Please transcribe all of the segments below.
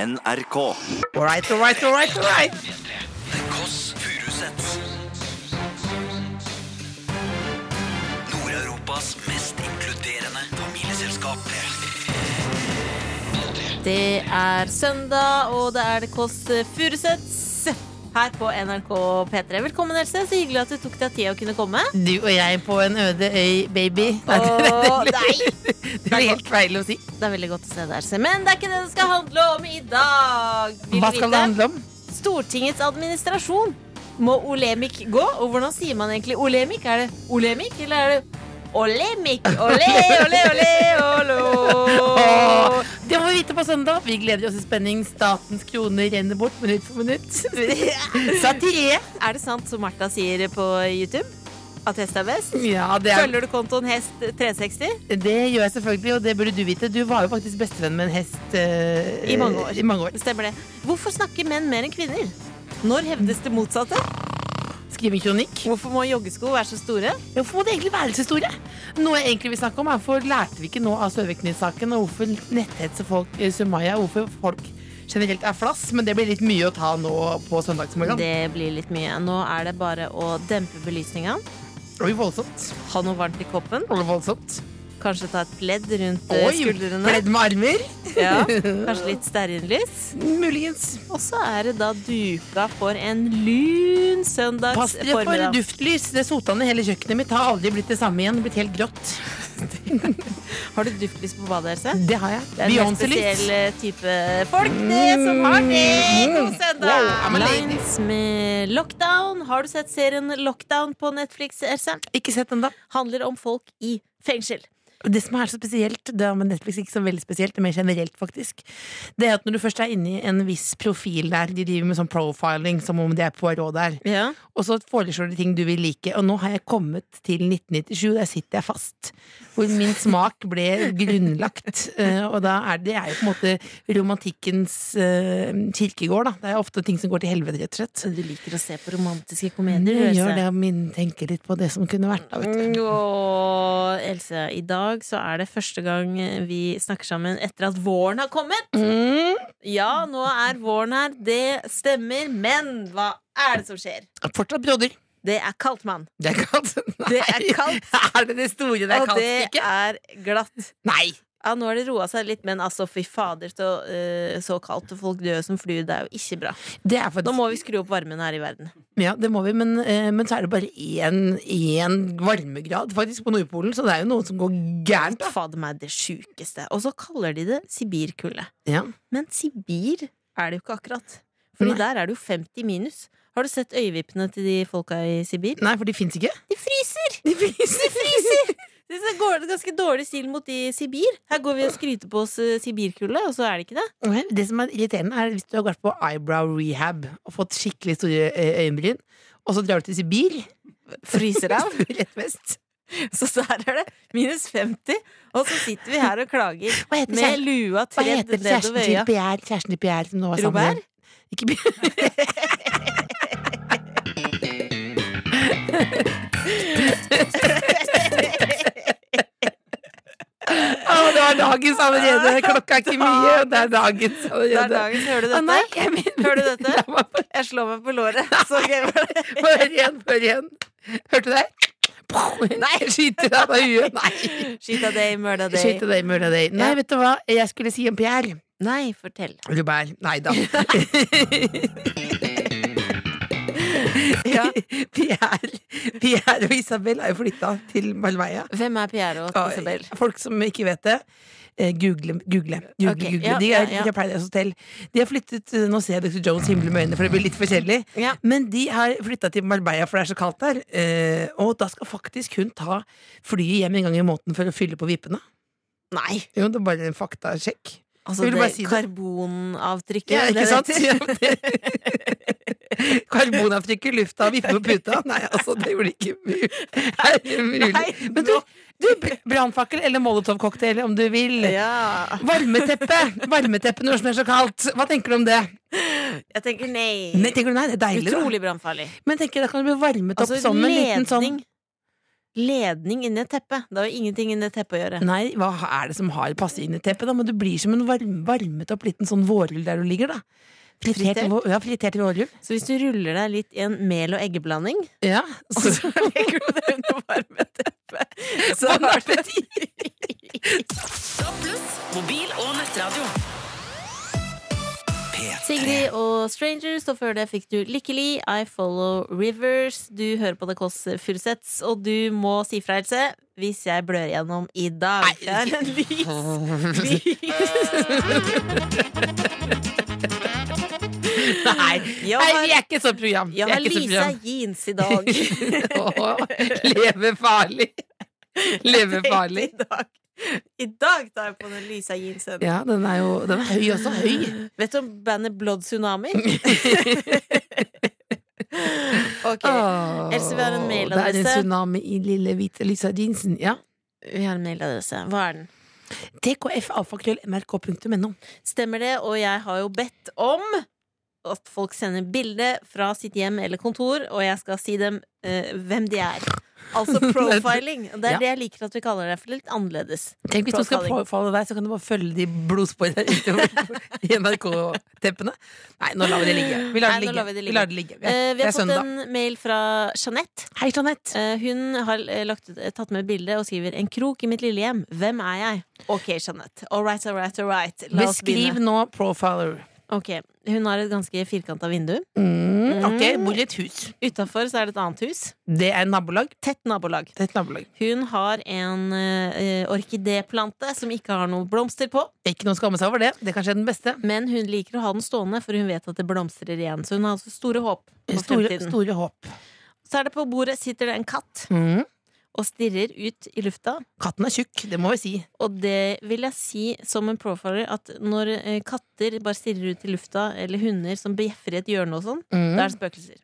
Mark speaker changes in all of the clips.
Speaker 1: NRK.
Speaker 2: All right, all right, all right, all right.
Speaker 1: The Koss Furusets. Nord-Europas mest inkluderende familieselskap.
Speaker 3: Det er søndag, og det er det Kåss Furuseths her på NRK P3. Velkommen, Else. Så hyggelig at du tok deg tid å kunne komme.
Speaker 4: Du og jeg på en øde øy, baby. Nei, det, det,
Speaker 3: Åh,
Speaker 4: det,
Speaker 3: nei.
Speaker 4: det blir helt feil å si.
Speaker 3: Det er veldig godt å se deg, Else. Men det er ikke det det skal handle om i dag. Vil
Speaker 4: Hva
Speaker 3: du
Speaker 4: skal
Speaker 3: vite?
Speaker 4: det handle om?
Speaker 3: Stortingets administrasjon. Må Olemic gå? Og hvordan sier man egentlig Olemic? Er det Olemic, eller er det Olemic? Olé, olé, olé, olå.
Speaker 4: Åh, det må vi vite på søndag. Vi gleder oss i spenning. Statens kroner renner bort minutt for minutt. Satire.
Speaker 3: Er det sant som Martha sier på YouTube? At hest er best?
Speaker 4: Ja, det, er,
Speaker 3: Følger du kontoen Hest360?
Speaker 4: det gjør jeg selvfølgelig, og det burde du vite. Du var jo faktisk bestevenn med en hest eh,
Speaker 3: I mange år.
Speaker 4: I mange år.
Speaker 3: Stemmer det. Hvorfor snakker menn mer enn kvinner? Når hevdes det motsatte?
Speaker 4: Skriv en kronikk.
Speaker 3: Hvorfor må joggesko være så store?
Speaker 4: Hvorfor må det egentlig være så store? Noe jeg egentlig vil snakke om er Hvorfor lærte vi ikke nå av Søviknes-saken, og hvorfor netthetser folk eh, Sumaya, og hvorfor folk generelt er flass? Men det blir litt mye å ta nå på søndagsmorgenen.
Speaker 3: Det blir litt mye. Nå er det bare å dempe belysninga.
Speaker 4: Oi, voldsomt.
Speaker 3: Ha noe varmt i koppen.
Speaker 4: Oi, voldsomt.
Speaker 3: Kanskje ta et pledd rundt eh,
Speaker 4: Oi,
Speaker 3: skuldrene.
Speaker 4: kledd med armer.
Speaker 3: Ja, kanskje litt stearinlys.
Speaker 4: Muligens.
Speaker 3: Og så er det da duka for en lun
Speaker 4: Pass
Speaker 3: søndags
Speaker 4: dere for
Speaker 3: formiddag.
Speaker 4: duftlys. Det sotende hele kjøkkenet mitt har aldri blitt det samme igjen. Blitt helt grått.
Speaker 3: Har du duftlys på badet, Else?
Speaker 4: Det har jeg.
Speaker 3: Det er en
Speaker 4: Beyoncé-lys.
Speaker 3: spesiell eh, type folk det som har det. God søndag!
Speaker 4: Wow, I'm a lady.
Speaker 3: Mm. Lines med Lockdown. Har du sett serien Lockdown på Netflix, Else?
Speaker 4: Ikke sett den, da.
Speaker 3: Handler om folk i fengsel.
Speaker 4: Det som er så spesielt, det er med Netflix ikke så veldig spesielt, det er mer generelt faktisk, det er at når du først er inne i en viss profil der, de driver med sånn profiling, som om det er Poirot der,
Speaker 3: Ja.
Speaker 4: og så foreslår de ting du vil like, og nå har jeg kommet til 1997, der sitter jeg fast, hvor min smak ble grunnlagt, eh, og da er det, det er jo på en måte romantikkens eh, kirkegård, da. Det er ofte ting som går til helvede, rett og slett.
Speaker 3: Så du liker å se på romantiske
Speaker 4: Du
Speaker 3: komedier?
Speaker 4: gjør det, og min tenker litt på det som kunne vært da, vet du.
Speaker 3: Mm, Åh, Else, i dag så er det første gang vi snakker sammen etter at våren har kommet. Mm. Ja, nå er våren her, det stemmer, men hva er det som skjer?
Speaker 4: Mm. Fortsatt brodder.
Speaker 3: Det er kaldt, mann.
Speaker 4: Det er kaldt. Nei.
Speaker 3: Det er kaldt.
Speaker 4: Er det det store det er
Speaker 3: Og
Speaker 4: kaldt?
Speaker 3: det
Speaker 4: ikke?
Speaker 3: er glatt.
Speaker 4: Nei!
Speaker 3: Ja, nå har det roa seg litt, men altså, fy fader, så, eh, så kaldt og folk dør som fluer, det er jo ikke bra.
Speaker 4: Det er
Speaker 3: Nå
Speaker 4: faktisk,
Speaker 3: må vi skru opp varmen her i verden.
Speaker 4: ja, det må vi, men, eh, men så er det bare én, én varmegrad faktisk på Nordpolen, så det er jo noe som går gærent. da.
Speaker 3: Fader meg, det sjukeste. Og så kaller de det Sibirkulde.
Speaker 4: Ja.
Speaker 3: Men Sibir er det jo ikke akkurat. Fordi
Speaker 4: Nei.
Speaker 3: der er det jo 50 minus. Har du sett øyevippene til de folka i Sibir?
Speaker 4: Nei, for de fins ikke.
Speaker 3: De fryser!
Speaker 4: De fryser!
Speaker 3: Det så går det ganske dårlig stil mot de i Sibir. Her går vi og skryter på oss eh, Sibirkulde, og så er det ikke det.
Speaker 4: Det som er irriterende, er hvis du har vært på eyebrow rehab og fått skikkelig store eh, øyenbryn, og så drar du til Sibir.
Speaker 3: Fryser av.
Speaker 4: Rett vest.
Speaker 3: Så der er det minus 50, og så sitter vi her og klager.
Speaker 4: Hva heter,
Speaker 3: Med
Speaker 4: kjæresten,
Speaker 3: lua
Speaker 4: hva
Speaker 3: tredd
Speaker 4: heter kjæresten
Speaker 3: nedover
Speaker 4: til
Speaker 3: øya.
Speaker 4: Pierre? Kjæresten til Pierre som nå var sammen med-
Speaker 3: Robert?
Speaker 4: Ikke Pierre. Å, det var dagens allerede. Klokka er ikke mye, og Ah. det er dagens
Speaker 3: Det er
Speaker 4: allerede.
Speaker 3: dagens. Hører du
Speaker 4: Å, nei,
Speaker 3: dette?
Speaker 4: jeg mener,
Speaker 3: Hører du dette?
Speaker 4: La meg bare-
Speaker 3: Jeg slår meg på låret. Så gøy var det.
Speaker 4: Hør igjen, hør igjen. Hørte du det? Nei, skyter deg på huet. Nei.
Speaker 3: Shit a day, murder day.
Speaker 4: Skyter deg, murder deg. Nei,
Speaker 3: Ja.
Speaker 4: vet du hva jeg skulle si om Pierre?
Speaker 3: Nei, fortell.
Speaker 4: Robert. Nei da.
Speaker 3: Ja.
Speaker 4: Pierre, Pierre og Isabel er jo flytta til Malveia.
Speaker 3: Hvem er Pierre og Isabel?
Speaker 4: Folk som ikke vet det, eh, google. google, google,
Speaker 3: Ok,
Speaker 4: google.
Speaker 3: ja,
Speaker 4: De er
Speaker 3: ja, ja.
Speaker 4: fra Paradise Hotel. De har flyttet eh, Nå ser jeg Dr. Jones himle med øynene, for det blir litt forskjellig.
Speaker 3: Ja.
Speaker 4: Men de har flytta til Marbella, for det er så kaldt der. eh, Og da skal faktisk hun ta flyet hjem en gang i måneden for å fylle på vippene.
Speaker 3: Nei!
Speaker 4: Jo, det er bare en faktasjekk.
Speaker 3: Altså
Speaker 4: Jeg ville
Speaker 3: det
Speaker 4: bare si det.
Speaker 3: karbonavtrykket.
Speaker 4: Ja,
Speaker 3: det
Speaker 4: ikke
Speaker 3: er
Speaker 4: sant?
Speaker 3: det.
Speaker 4: Karbonavtrykk i lufta og vippe på puta. Nei, altså, det gjorde ikke mu- er det mulig.
Speaker 3: Nei,
Speaker 4: Men du, du br- brannfakkel eller molotovcocktail om du vil.
Speaker 3: Ja.
Speaker 4: Varmeteppe varmeteppe når det er så kaldt. Hva tenker du om det?
Speaker 3: Jeg tenker nei.
Speaker 4: Nei, tenker du nei, det er deilig da.
Speaker 3: Utrolig brannfarlig.
Speaker 4: Men tenker jeg, da kan du bli varmet opp
Speaker 3: Altså
Speaker 4: som en liten
Speaker 3: ledning.
Speaker 4: sånn
Speaker 3: ledning inni et teppe. Det har jo ingenting inni et teppe å gjøre.
Speaker 4: Nei, hva er det som har passet inn i teppet? da? Men du blir som en varm, varmet opp liten sånn vårrull der du ligger, da. Fritert,
Speaker 3: Fritert?
Speaker 4: vå- Ja, fritert vårrull.
Speaker 3: Så hvis du ruller deg litt i en mel- og eggeblanding,
Speaker 4: Ja,
Speaker 3: og
Speaker 4: så,
Speaker 3: så legger du deg under varme teppe, så
Speaker 4: Bon
Speaker 3: har du
Speaker 5: Mobil og nettradio.
Speaker 1: P3
Speaker 3: Sigrid og Strangers, og før det fikk du Lykkelig, I Follow Rivers. Du hører på The Kåss Furuseths, og du må si fra, Else, hvis jeg blør gjennom i dag. Det er en lys, lys.
Speaker 4: nei.
Speaker 3: Jeg
Speaker 4: nei,
Speaker 3: har-
Speaker 4: vi er ikke sånn program. Vi
Speaker 3: Jeg
Speaker 4: er
Speaker 3: har
Speaker 4: ikke sånn
Speaker 3: lysa jeans i dag.
Speaker 4: program. Å, leve farlig. Leve farlig.
Speaker 3: I dag. I dag tar jeg på den lysa jeansen.
Speaker 4: Ja, den er jo den er høy også. Høy.
Speaker 3: Vet du om bandet Blood Tsunami? ok.
Speaker 4: Åh,
Speaker 3: Else, vi har en
Speaker 4: Det er
Speaker 3: mailadresse.
Speaker 4: en tsunami i lille hvite lysa jeansen. Ja.
Speaker 3: Vi har en mailadresse. Hva er den?
Speaker 4: tkfalfakrøllmrk.no.
Speaker 3: Stemmer det, og jeg har jo bedt om at folk sender bilde fra sitt hjem eller kontor, og jeg skal si dem eh, hvem de er. Altså profiling. og Det er
Speaker 4: Ja.
Speaker 3: det jeg liker at vi kaller det, for det er litt annerledes.
Speaker 4: Tenk hvis du skal
Speaker 3: Profiling.
Speaker 4: profile deg, så kan du bare følge de blodsporene utover i NRK-teppene. Nei, nå lar vi det ligge. Vi lar det
Speaker 3: Nei, nå
Speaker 4: ligge.
Speaker 3: lar vi det ligge.
Speaker 4: Vi lar det ligge. Vi er-
Speaker 3: Eh, vi
Speaker 4: det er
Speaker 3: har fått
Speaker 4: søndag.
Speaker 3: en mail fra Jeanette.
Speaker 4: Hei, Jeanette.
Speaker 3: Eh, hun har eh, lagt, ut- eh, tatt med et bilde og skriver 'En krok i mitt lille hjem. Hvem er jeg?' Ok, Jeanette. All right, all right, all right. La oss
Speaker 4: Beskriv
Speaker 3: begynne.
Speaker 4: nå profiler.
Speaker 3: Ok, Hun har et ganske firkanta vindu.
Speaker 4: Mm, ok, bor i et hus.
Speaker 3: Utafor er det et annet hus.
Speaker 4: Det er nabolag.
Speaker 3: Tett nabolag.
Speaker 4: Det er et nabolag.
Speaker 3: Hun har en eh, orkideplante som ikke har noen blomster på,
Speaker 4: Ikke noe å skamme seg over det. Det er kanskje den beste.
Speaker 3: men hun liker å ha den stående, for hun vet at det blomstrer igjen. Så hun har altså store håp på
Speaker 4: Store,
Speaker 3: fremtiden.
Speaker 4: store håp.
Speaker 3: Så er det på bordet sitter det en katt
Speaker 4: Mm.
Speaker 3: og stirrer ut i lufta.
Speaker 4: Katten er tjukk, det må vi si.
Speaker 3: Og det vil jeg si som en profiler at når eh, katter bare stirrer ut i lufta, eller hunder som bjeffer i et hjørne og sånn, da er det spøkelser. De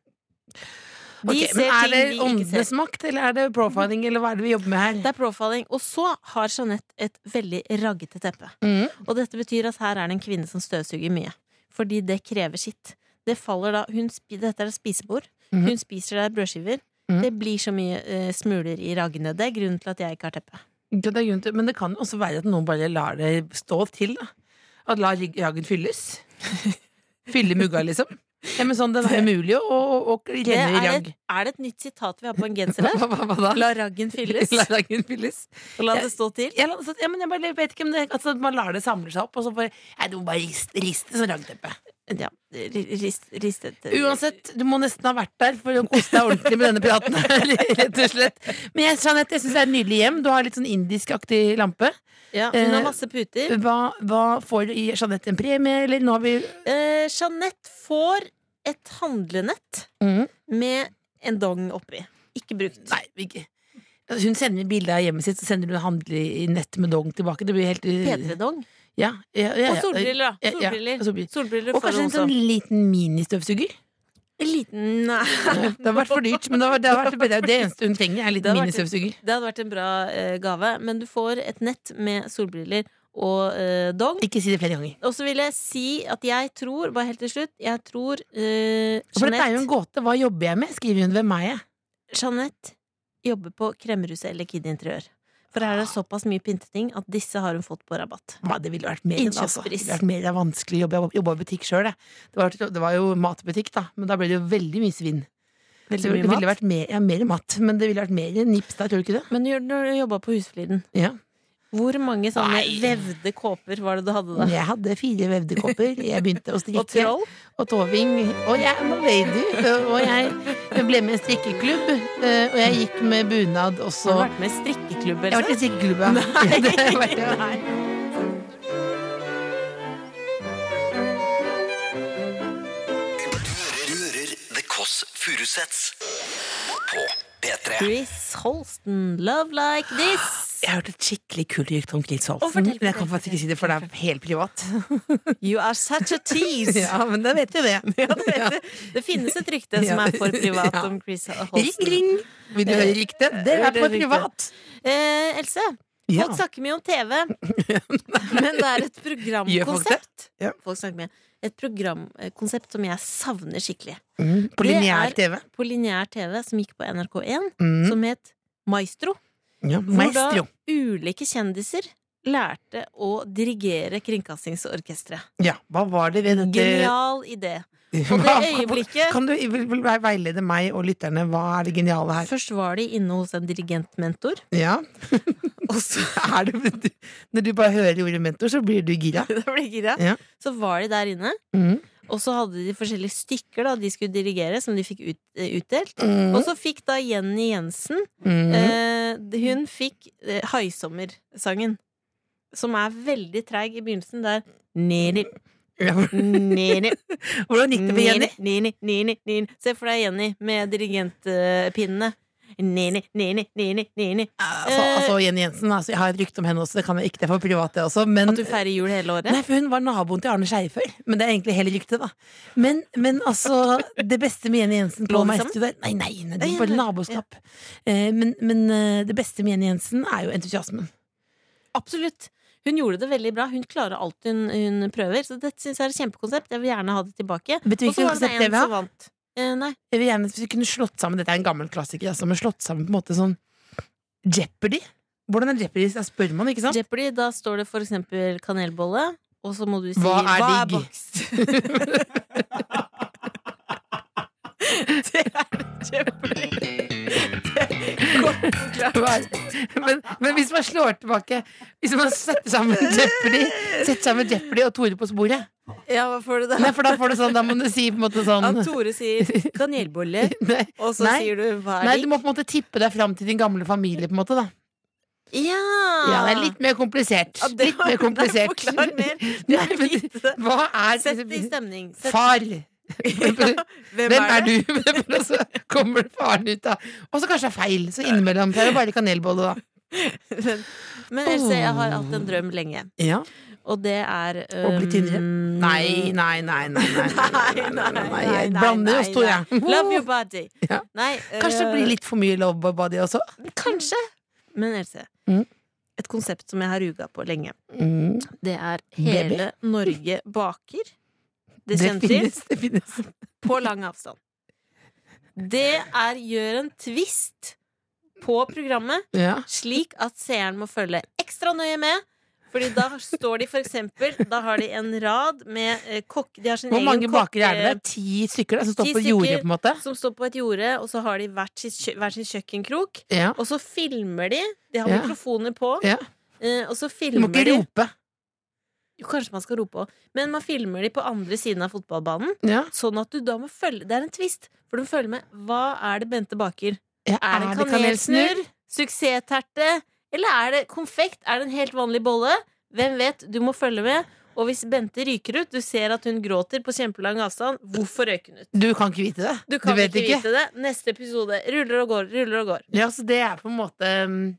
Speaker 4: Mm. Ok, men
Speaker 3: ser
Speaker 4: er
Speaker 3: ting
Speaker 4: det
Speaker 3: vi ikke ser.
Speaker 4: åndenes makt, eller er det profiling, eller hva er det vi jobber med
Speaker 3: Det
Speaker 4: her?
Speaker 3: er profiling. Og så har Jeanette et veldig raggete teppe.
Speaker 4: Mm.
Speaker 3: Og dette betyr at her er det en kvinne som støvsuger mye. Fordi det krever sitt. Det faller da hun, spi- Dette er et spisebord.
Speaker 4: Mhm.
Speaker 3: Hun spiser der brødskiver.
Speaker 4: Mhm.
Speaker 3: Det blir så mye eh, smuler i raggene. Det er grunnen til at jeg ikke har teppe.
Speaker 4: Ja, det er grunn til, men det kan jo også være at noen bare lar det stå til. Da. At la rig- jagen fylles. Fylle mugga, liksom. Ja, men sånn, Den er umulig å, å, å
Speaker 3: Det
Speaker 4: renne i
Speaker 3: er, et,
Speaker 4: ragg.
Speaker 3: er det et nytt sitat vi har på en genser
Speaker 4: Hva,
Speaker 3: her?
Speaker 4: hva, hva da?
Speaker 3: La raggen fylles,
Speaker 4: La jagen fylles.
Speaker 3: og la det stå til.
Speaker 4: Ja, la- så- ja, men jeg bare vet ikke om det altså, Man lar det samle seg opp, og så bare Nei, du må bare riste, riste sånn raggteppe.
Speaker 3: Ja, ri- rist, ristet
Speaker 4: Uansett, du må nesten ha vært der for å kose deg ordentlig med denne praten. her, rett og slett Men jeg, Jeanette, jeg syns det er et nydelig hjem. Du har litt sånn indiskaktig lampe.
Speaker 3: Ja, hun har
Speaker 4: eh,
Speaker 3: masse puter.
Speaker 4: Hva, hva får Jeanette en premie, eller nå har vi
Speaker 3: Eh, Jeanette får et handlenett
Speaker 4: Mhm.
Speaker 3: med en dong oppi. Ikke brukt.
Speaker 4: Nei, vi ikke. Altså, Hun sender bilde av hjemmet sitt, så sender hun handle i nett med dong tilbake. Det blir helt eh,
Speaker 3: P3-dong.
Speaker 4: Ja, ja, ja, ja.
Speaker 3: Og solbriller,
Speaker 4: Ja,
Speaker 3: da.
Speaker 4: ja,
Speaker 3: Solbriller.
Speaker 4: og solbriller.
Speaker 3: Solbriller
Speaker 4: Og
Speaker 3: får
Speaker 4: kanskje
Speaker 3: hun
Speaker 4: en
Speaker 3: også.
Speaker 4: sånn liten ministøvsuger.
Speaker 3: En liten Nei.
Speaker 4: Det har vært for dyrt, men det, har, det, har vært, det, er det eneste hun trenger, er en
Speaker 3: Det har
Speaker 4: liten
Speaker 3: vært-
Speaker 4: ministøvsuger.
Speaker 3: Det hadde vært en bra eh, gave, men du får et nett med solbriller og eh, dong.
Speaker 4: Ikke si det flere ganger.
Speaker 3: Og så vil jeg si at jeg tror, bare helt til slutt, jeg tror eh,
Speaker 4: For dette er jo
Speaker 3: Jeanette,
Speaker 4: en gåte. Hva jobber jeg med? Skriver hun. Hvem er jeg?
Speaker 3: Jeanette jobber på Kremmerhuset eller Kid Interiør. For her er det
Speaker 4: Ah.
Speaker 3: såpass mye pynteting at disse har hun fått på rabatt.
Speaker 4: Hva, det ville vært mer enn altså. Det
Speaker 3: Innkjøpspris.
Speaker 4: ville vært mer enn vanskelig å jobbe Jeg jobba i butikk sjøl, jeg. Det var, det var jo matbutikk, da, men da ble det jo veldig mye svinn. Så det ville vært mer, ja, mer mat, men det ville vært mer nips der, tror du ikke det?
Speaker 3: Men gjør- når du jobba på Husfliden,
Speaker 4: Ja.
Speaker 3: hvor mange sånne
Speaker 4: Nei.
Speaker 3: vevde kåper var det du hadde da?
Speaker 4: Jeg hadde fire vevde kopper. Jeg begynte å strikke.
Speaker 3: Og troll?
Speaker 4: og toving. Og jeg er en lady. Og jeg ble med i en strikkeklubb. eh, Og jeg gikk med bunad
Speaker 3: Har du
Speaker 4: også.
Speaker 3: vært med i strikkeklubb?
Speaker 4: Jeg har
Speaker 3: Else?
Speaker 4: vært i strikkeklubb, ja. ja. det har jeg vært, ja. Nei.
Speaker 1: Du hører The Kåss Furuseths På P3
Speaker 3: Chris Holsten, Love Like This.
Speaker 4: Jeg har hørt et skikkelig kult rykte om Knut Solsen.
Speaker 3: Å, fortell,
Speaker 4: men jeg kan
Speaker 3: fortell,
Speaker 4: faktisk ikke si det, for det er helt privat.
Speaker 3: You are such a tease.
Speaker 4: Ja, men da vet du det.
Speaker 3: Det finnes et rykte som
Speaker 4: Ja.
Speaker 3: er for privat
Speaker 4: Ja.
Speaker 3: om Chris
Speaker 4: Ring,
Speaker 3: Holsten.
Speaker 4: ring! Vil du høre ryktet? Det er
Speaker 3: Hører
Speaker 4: for
Speaker 3: ryktet.
Speaker 4: privat.
Speaker 3: Eh, Else,
Speaker 4: Ja.
Speaker 3: folk snakker mye om TV, men det er et programkonsept.
Speaker 4: Ja.
Speaker 3: Folk snakker mye. Et programkonsept som jeg savner skikkelig.
Speaker 4: Mm, På
Speaker 3: Det
Speaker 4: lineær
Speaker 3: er-
Speaker 4: TV.
Speaker 3: På lineær TV, som gikk på NRK1,
Speaker 4: Mm.
Speaker 3: som het Maestro.
Speaker 4: Ja,
Speaker 3: Hvor da
Speaker 4: maestro.
Speaker 3: ulike kjendiser lærte å dirigere Kringkastingsorkestret.
Speaker 4: Ja, hva var det ved dette
Speaker 3: Genial idé. Og det
Speaker 4: Hva-
Speaker 3: øyeblikket
Speaker 4: Kan du vil, vil veilede meg og lytterne? Hva er det geniale her?
Speaker 3: Først var de inne hos en dirigentmentor.
Speaker 4: Ja. og så er det Når du bare hører ordet mentor, så blir du gira.
Speaker 3: Da ble jeg gira.
Speaker 4: Ja.
Speaker 3: Så var de der inne,
Speaker 4: Mm.
Speaker 3: og så hadde de forskjellige stykker da, de skulle dirigere, som de fikk ut, eh, utdelt.
Speaker 4: Mm.
Speaker 3: Og så fikk da Jenny Jensen
Speaker 4: Mm.
Speaker 3: eh, Hun fikk eh, Haisommer-sangen. Som er veldig treig i begynnelsen. Der Nini,
Speaker 4: Ja,
Speaker 3: nini,
Speaker 4: Hvordan gikk det med Jenny?
Speaker 3: nini, nini, nini, nini. Se for deg Jenny med dirigentpinnene. Nini, nini, nini, nini.
Speaker 4: Altså, altså Jenny Jensen, altså, jeg har et rykte om henne også, det kan jeg ikke, det er for privat det også. Men,
Speaker 3: At du feirer jul hele året?
Speaker 4: Nei, for hun var naboen til Arne Skeie før. Men det er egentlig hele ryktet, da. Men, men altså, det beste med Jenny Jensen på
Speaker 3: Lå de
Speaker 4: Maestro der Nei, nei, nei, det
Speaker 3: Nei,
Speaker 4: var bare
Speaker 3: nei,
Speaker 4: naboskap. Eh, Men, men eh, det beste med Jenny Jensen er jo entusiasmen.
Speaker 3: Absolutt. Hun gjorde det veldig bra. Hun klarer alt hun, hun prøver. Så dette syns jeg er et kjempekonsept. Jeg vil gjerne ha det tilbake.
Speaker 4: Vet du
Speaker 3: Og så
Speaker 4: hvilket
Speaker 3: var det
Speaker 4: konsept
Speaker 3: en
Speaker 4: det vi har?
Speaker 3: som vant. Eh, nei.
Speaker 4: Jeg vil gjerne at vi kunne slått sammen Dette er en gammel klassiker, altså, men slått sammen på en måte sånn Jeopardy. Hvordan er Jeopardy? Da spør man, ikke sant?
Speaker 3: Jeopardy, da står det for eksempel kanelbolle, og så må du si
Speaker 4: Hva er digg?
Speaker 3: boks? det er Jeopardy.
Speaker 4: Hva er- Men, men hvis man slår tilbake Hvis man setter sammen Jeopardy, setter sammen Jeopardy og Tore på sporet
Speaker 3: Ja, hva får du da?
Speaker 4: Nei, for da får du sånn, da må du si på en måte sånn
Speaker 3: Ja, Tore sier kanelbolle,
Speaker 4: Nei,
Speaker 3: og så
Speaker 4: Nei.
Speaker 3: sier du hva
Speaker 4: nei
Speaker 3: er
Speaker 4: du
Speaker 3: digg?
Speaker 4: må på en måte tippe deg fram til din gamle familie, på en måte, da.
Speaker 3: Ja!
Speaker 4: Ja, det er litt mer komplisert.
Speaker 3: Ja, det
Speaker 4: Litt mer
Speaker 3: var- Nei,
Speaker 4: komplisert.
Speaker 3: Forklar mer. Det
Speaker 4: Nei,
Speaker 3: er
Speaker 4: men
Speaker 3: lite.
Speaker 4: Hva er
Speaker 3: Sett det i stemning. Sett.
Speaker 4: Far!
Speaker 3: Hvem,
Speaker 4: Hvem er
Speaker 3: det?
Speaker 4: du? Og så kommer faren ut, da. Og så kanskje det er feil. Så innimellom. Så er det bare kanelbolle, da.
Speaker 3: Men, men Else, jeg har hatt en drøm lenge,
Speaker 4: Ja.
Speaker 3: og det er
Speaker 4: Å bli tynnere?
Speaker 3: um,
Speaker 4: Nei, nei, nei, nei. nei,
Speaker 3: Nei, nei, nei,
Speaker 4: nei, jeg blander oss to, jeg.
Speaker 3: Love your body.
Speaker 4: Ja.
Speaker 3: Nei,
Speaker 4: Kanskje det
Speaker 3: øh,
Speaker 4: blir litt for mye love by body også.
Speaker 3: Kanskje. Men Else,
Speaker 4: Mm.
Speaker 3: et konsept som jeg har ruga på lenge,
Speaker 4: Mm.
Speaker 3: det er
Speaker 4: Baby.
Speaker 3: Hele Norge baker. Det
Speaker 4: Det
Speaker 3: kjenner til.
Speaker 4: finnes, det finnes.
Speaker 3: På lang avstand. Det er gjør en twist på programmet,
Speaker 4: Ja.
Speaker 3: slik at seeren må følge ekstra nøye med. Fordi da står de for eksempel Da har de en rad med eh, kokk... De har sin
Speaker 4: Hvor
Speaker 3: egen
Speaker 4: mange bakere er det
Speaker 3: kokke-
Speaker 4: der? Ti stykker da, som står
Speaker 3: Ti
Speaker 4: på jordet,
Speaker 3: stykker.
Speaker 4: på en måte?
Speaker 3: som står på et jorde, og så har de hvert sitt kjø- hver sin kjøkkenkrok.
Speaker 4: Ja.
Speaker 3: Og så filmer de. De har
Speaker 4: Ja.
Speaker 3: mikrofoner på.
Speaker 4: Ja.
Speaker 3: eh, Og så
Speaker 4: Du må
Speaker 3: filmer
Speaker 4: ikke
Speaker 3: de
Speaker 4: rope.
Speaker 3: jo, Kanskje man skal rope òg, men man filmer de på andre siden av fotballbanen.
Speaker 4: Ja.
Speaker 3: Sånn at du da må følge Det er en twist, for du må følge med. Hva er det Bente baker?
Speaker 4: Ja,
Speaker 3: Er det kanelsnurr? Suksessterte? Eller er det konfekt? Er det en helt vanlig bolle? Hvem vet? Du må følge med. Og hvis Bente ryker ut, du ser at hun gråter på kjempelang avstand, hvorfor røyk hun ut?
Speaker 4: Du kan ikke vite det.
Speaker 3: Du kan
Speaker 4: vet
Speaker 3: ikke, vite det. Neste episode ruller og går, ruller og går.
Speaker 4: Ja, så det er på en måte mm,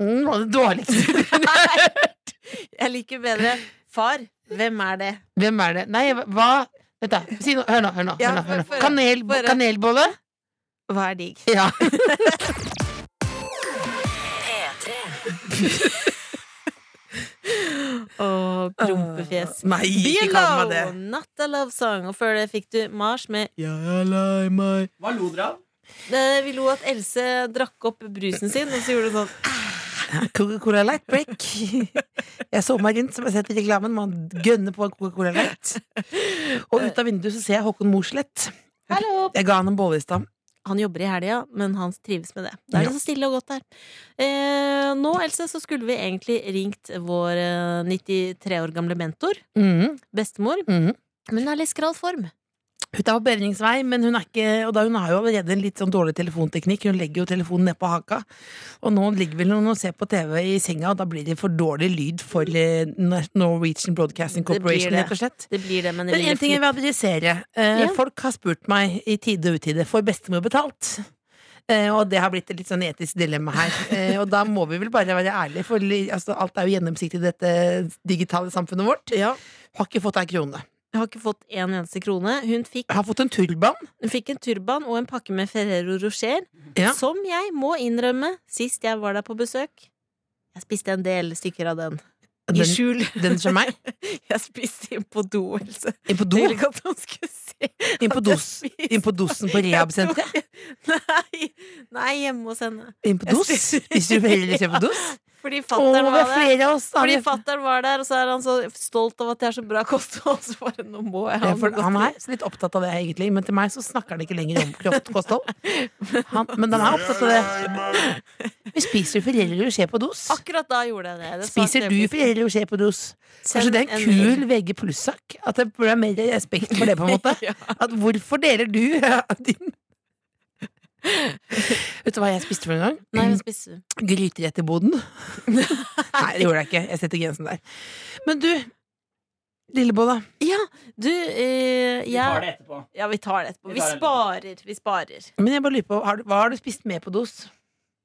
Speaker 4: Noe av Mm, det dårligste.
Speaker 3: Jeg liker bedre Far, hvem er det?
Speaker 4: Hvem er det? Nei, hva Vent, da. Si noe. Hør nå. Hør nå,
Speaker 3: Ja,
Speaker 4: hør nå, hør nå.
Speaker 3: få høre.
Speaker 4: Kanel,
Speaker 3: Få høre.
Speaker 4: kanelbolle?
Speaker 3: Hva er digg?
Speaker 4: Ja.
Speaker 3: Og prompefjes.
Speaker 4: Nei, Ah. ikke kall meg det.
Speaker 3: Bielo! Not a love song. Og før det fikk du Mars med
Speaker 6: Hva lo dere av?
Speaker 3: eh, Vi lo at Else drakk opp brusen sin, og så gjorde hun sånn.
Speaker 4: Coca-Cola Light Break. Jeg så meg rundt, som jeg har sett i reklamen. Man gønner på en Coca-Cola Light. Og ut av vinduet så ser jeg Håkon Mosleth.
Speaker 3: Hallo!
Speaker 4: Jeg ga han en bolle i stad.
Speaker 3: Han jobber i helga, men han trives med det. Da er det så stille og godt der. Eh, nå, Else, så skulle vi egentlig ringt vår eh, 93 år gamle mentor,
Speaker 4: Mhm,
Speaker 3: bestemor,
Speaker 4: mhm.
Speaker 3: men hun er litt skral form.
Speaker 4: Hun er på bedringsvei, men hun er ikke Og da hun har jo allerede en litt sånn dårlig telefonteknikk. Hun legger jo telefonen ned på haka. Og nå ligger vel hun og ser på TV i senga, og da blir det for dårlig lyd for eh, Norwegian Broadcasting
Speaker 3: Det blir
Speaker 4: Corporation,
Speaker 3: det.
Speaker 4: rett og slett.
Speaker 3: Det blir det, men det
Speaker 4: Men
Speaker 3: vil
Speaker 4: en ting jeg vil adressere. Eh,
Speaker 3: Ja.
Speaker 4: Folk har spurt meg i tide og utide Får bestemor betalt. Eh, og det har blitt et litt sånn etisk dilemma her. Eh, og da må vi vel bare være ærlige, for li- altså, alt er jo gjennomsiktig i dette digitale samfunnet vårt. Har ikke fått ei krone.
Speaker 3: Jeg har ikke fått en eneste krone. Hun fikk,
Speaker 4: Jeg har fått en turban.
Speaker 3: hun fikk en turban og en pakke med Ferrero Rocher,
Speaker 4: Ja.
Speaker 3: som jeg må innrømme, sist jeg var der på besøk Jeg spiste en del stykker av den. I
Speaker 4: Den,
Speaker 3: skjul.
Speaker 4: den som meg.
Speaker 3: Jeg spiste inn på do, Else.
Speaker 4: Inn på do.
Speaker 3: Jeg ville ikke at noen skulle se.
Speaker 4: Inn på,
Speaker 3: at jeg
Speaker 4: dos,
Speaker 3: spiste.
Speaker 4: inn på dosen på rehab-senteret.
Speaker 3: Jeg tok- Nei, nei, hjemme hos henne.
Speaker 4: Inn på dos?
Speaker 3: Jeg spiser-
Speaker 4: Hvis du heller ser på dos?
Speaker 3: Fordi
Speaker 4: Å,
Speaker 3: fattern
Speaker 4: vi er
Speaker 3: var der.
Speaker 4: flere av oss! da.
Speaker 3: Fordi fattern var der, og så er han så stolt av at jeg har så bra kosthold. Så bare, nå må jeg ha
Speaker 4: Ja, for
Speaker 3: noe
Speaker 4: han
Speaker 3: godt
Speaker 4: er litt opptatt av det, egentlig, men til meg så snakker han ikke lenger om kropp- kosthold. Han, men han er opptatt av det. Men spiser du Ferrero Rocher på dos?
Speaker 3: til. Akkurat da gjorde jeg det. det sa
Speaker 4: Spiser du
Speaker 3: Clemens.
Speaker 4: Ferrero Rocher på dos? Kanskje
Speaker 3: Send
Speaker 4: det er
Speaker 3: en
Speaker 4: en
Speaker 3: mail.
Speaker 4: kul VG pluss-sak? At det burde være mer respekt for det, på en måte?
Speaker 3: Ja.
Speaker 4: At hvorfor deler du din Vet du hva jeg spiste for en gang?
Speaker 3: Nei, men spiser du?
Speaker 4: Gryter etter boden. Nei, det gjorde jeg ikke. Jeg setter grensen der. Men du, Lillebolla.
Speaker 3: Ja, du eh,
Speaker 6: Vi tar
Speaker 3: jeg,
Speaker 6: det etterpå.
Speaker 3: Ja, vi tar det etterpå.
Speaker 6: Vi
Speaker 3: Vi
Speaker 6: tar det
Speaker 3: sparer. Vi sparer.
Speaker 4: Men jeg bare lurer på, har du, hva har du spist med på dos?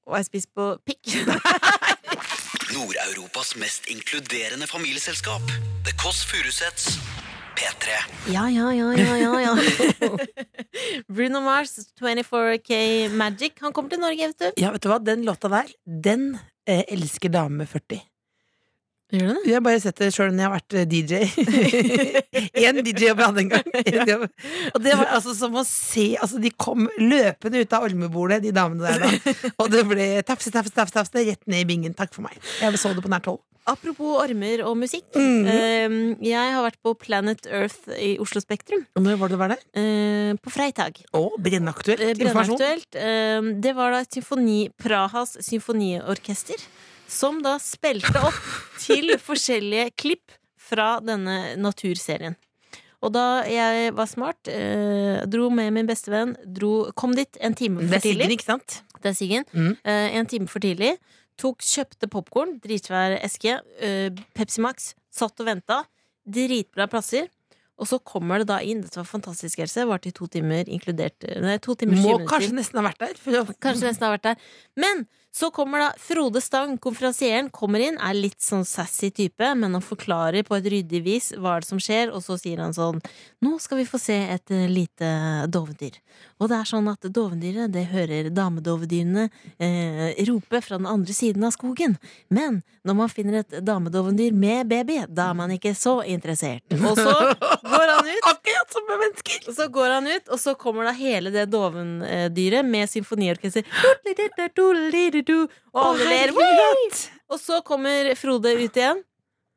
Speaker 3: Og jeg spiser på pikk.
Speaker 1: Nord-Europas mest inkluderende familieselskap. The Kåss Furuseths. P3.
Speaker 3: Ja, ja, ja, ja, ja, ja. Bruno Mars, 24K Magic. Han kommer til Norge, vet du.
Speaker 4: Ja, vet du hva, den låta der, den eh, elsker dame med 40.
Speaker 3: Gjør du det?
Speaker 4: Jeg har bare sett det sjøl når jeg har vært eh, DJ. Én DJ-jobb jeg hadde en gang. En jobb. Og det var altså som å se Altså, de kom løpende ut av olmebordet, de damene der, da. Og det ble tafse, tafse, tafse, tafse rett ned i bingen. Takk for meg. Jeg så det på nært hold.
Speaker 3: Apropos ormer og musikk.
Speaker 4: Mhm.
Speaker 3: eh, jeg har vært på Planet Earth i Oslo Spektrum
Speaker 4: Og når var det du var der?
Speaker 3: eh, på freitag.
Speaker 4: Å, brennaktuelt
Speaker 3: Eh,
Speaker 4: informasjon.
Speaker 3: Brennaktuelt. eh, det var da et symfoni, Prahas symfoniorkester som da spilte opp til forskjellige klipp fra denne naturserien. Og da jeg var smart, eh, dro med min bestevenn, dro, kom dit en time
Speaker 4: Det
Speaker 3: for
Speaker 4: er Siggen,
Speaker 3: tidlig.
Speaker 4: ikke sant?
Speaker 3: Det er Siggen.
Speaker 4: Mm.
Speaker 3: Eh, en time for tidlig. Tok, kjøpte popkorn, dritsvær eske, eh, Pepsi Max. Satt og venta. Dritbra plasser. Og så kommer det da inn. Dette var fantastisk, Else. Varte i to timer, inkludert eh, Nei, to timer,
Speaker 4: Må
Speaker 3: 20 minutter.
Speaker 4: kanskje nesten ha vært der. For å,
Speaker 3: Kanskje nesten har vært der. Men så kommer da Frode Stang, konferansieren, kommer inn, er litt sånn sassy type, men han forklarer på et ryddig vis hva er det som skjer, og så sier han sånn Nå skal vi få se et eh, lite dovendyr. Og det er sånn at dovendyret, det hører damedovedyrene eh, rope fra den andre siden av skogen. Men når man finner et damedovendyr med baby, da er man ikke så interessert. Og så går han ut.
Speaker 4: Akkurat som med mennesker!
Speaker 3: Og så går han ut, og så kommer da hele det dovendyret med symfoniorkester. Og alle ler.
Speaker 4: herlighet!
Speaker 3: Og så kommer Frode ut igjen.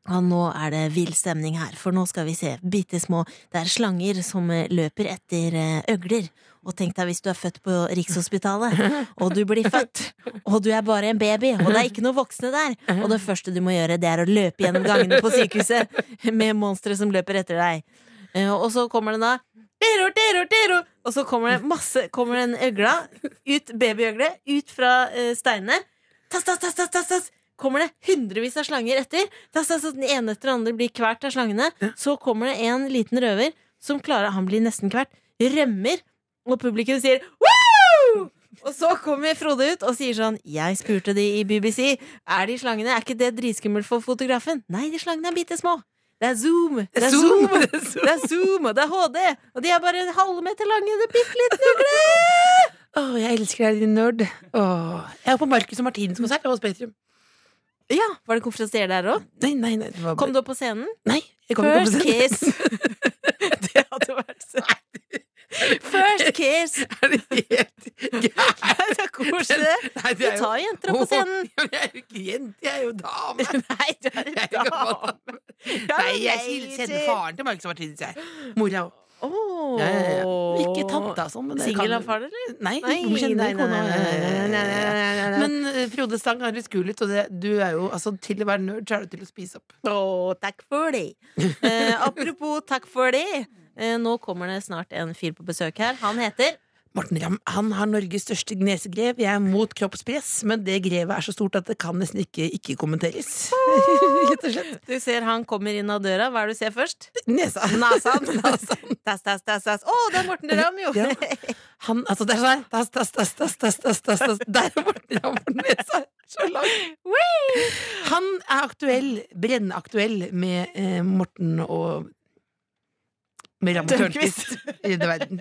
Speaker 3: Ja, nå er det vill stemning her, for nå skal vi se bitte små Det er slanger som eh, løper etter eh, øgler. Og tenk deg hvis du er født på Rikshospitalet, og du blir født, og du er bare en baby, og det er ikke noen voksne der, og det første du må gjøre, det er å løpe gjennom gangene på sykehuset med monstre som løper etter deg. Eh, Og så kommer det da Dero, dero, dero! Og så kommer det masse Kommer det en øgla ut, babyøgle ut fra eh, steinene. Tass, tass, tass, tass, tass, tass. Kommer det hundrevis av slanger etter. Tass, tass, tass. Den ene etter den andre blir kvert av slangene. Så kommer det en liten røver som klarer Han blir nesten kvert. Rømmer, og publikum sier Woo! Og så kommer Frode ut og sier sånn Jeg spurte de i BBC. Er de slangene? Er ikke det dritskummelt for fotografen? Nei, de slangene er bitte små. Det er zoom! Det er zoom!
Speaker 4: Zoom!
Speaker 3: Det er zoom, og det er HD, og de er bare en halvmeter lange. Det er bitte litt
Speaker 4: Å, jeg elsker deg, din nerd. Åh. Jeg var på Marcus og Martinens konsert. Jeg var på Spektrum.
Speaker 3: Ja, Var det konferansier der òg?
Speaker 4: Nei, nei, nei. Det var
Speaker 3: Kom du opp på scenen?
Speaker 4: Nei, jeg kom ikke
Speaker 3: First
Speaker 4: på scenen.
Speaker 3: kiss. Det hadde vært så First kiss!
Speaker 4: Er det helt gærent?
Speaker 3: Det er koselig.
Speaker 4: Nei,
Speaker 3: Vi tar jenter opp på scenen.
Speaker 4: Åh, jeg er jo ikke jente, jeg er jo dame.
Speaker 3: Nei, du er
Speaker 4: Jeg er
Speaker 3: en
Speaker 4: jo gammel
Speaker 3: dame.
Speaker 4: dame. Nei, jeg kjenner faren til Marcus og Martinens, jeg. Mora òg.
Speaker 3: Oh.
Speaker 4: Ja, ja, ja. Ikke tante, altså. men det kan-
Speaker 3: Singel av far, eller?
Speaker 4: Nei,
Speaker 3: Nei,
Speaker 4: hun kjenner
Speaker 3: nei,
Speaker 4: kona.
Speaker 3: nei, nei, nei, nei, nei, nei.
Speaker 4: Men eh, Frode Stang har litt skul ut, og det, du er jo altså, til å være nerd, så er du til å spise opp.
Speaker 3: Å, takk for det. Eh, apropos takk for det. Eh, nå kommer det snart en fyr på besøk her. Han heter
Speaker 4: Morten Ramm han har Norges største nesegrev. Jeg er mot kroppspress, men det grevet er så stort at det kan nesten ikke ikke kommenteres. Rett og slett.
Speaker 3: Du ser han kommer inn av døra. Hva er det du ser først?
Speaker 4: Nesa.
Speaker 3: Nasan. Tass, tass, tass, tass. Å, det er Morten Ramm, jo!
Speaker 4: Ja. Han, altså, der sa jeg tass, tass, tass, tass, tass, tass, tass, tass. Der er Morten Ramm for nesa. Så lang. Han er aktuell, brennaktuell, med eh, Morten og med Ram Tørnquist i verden.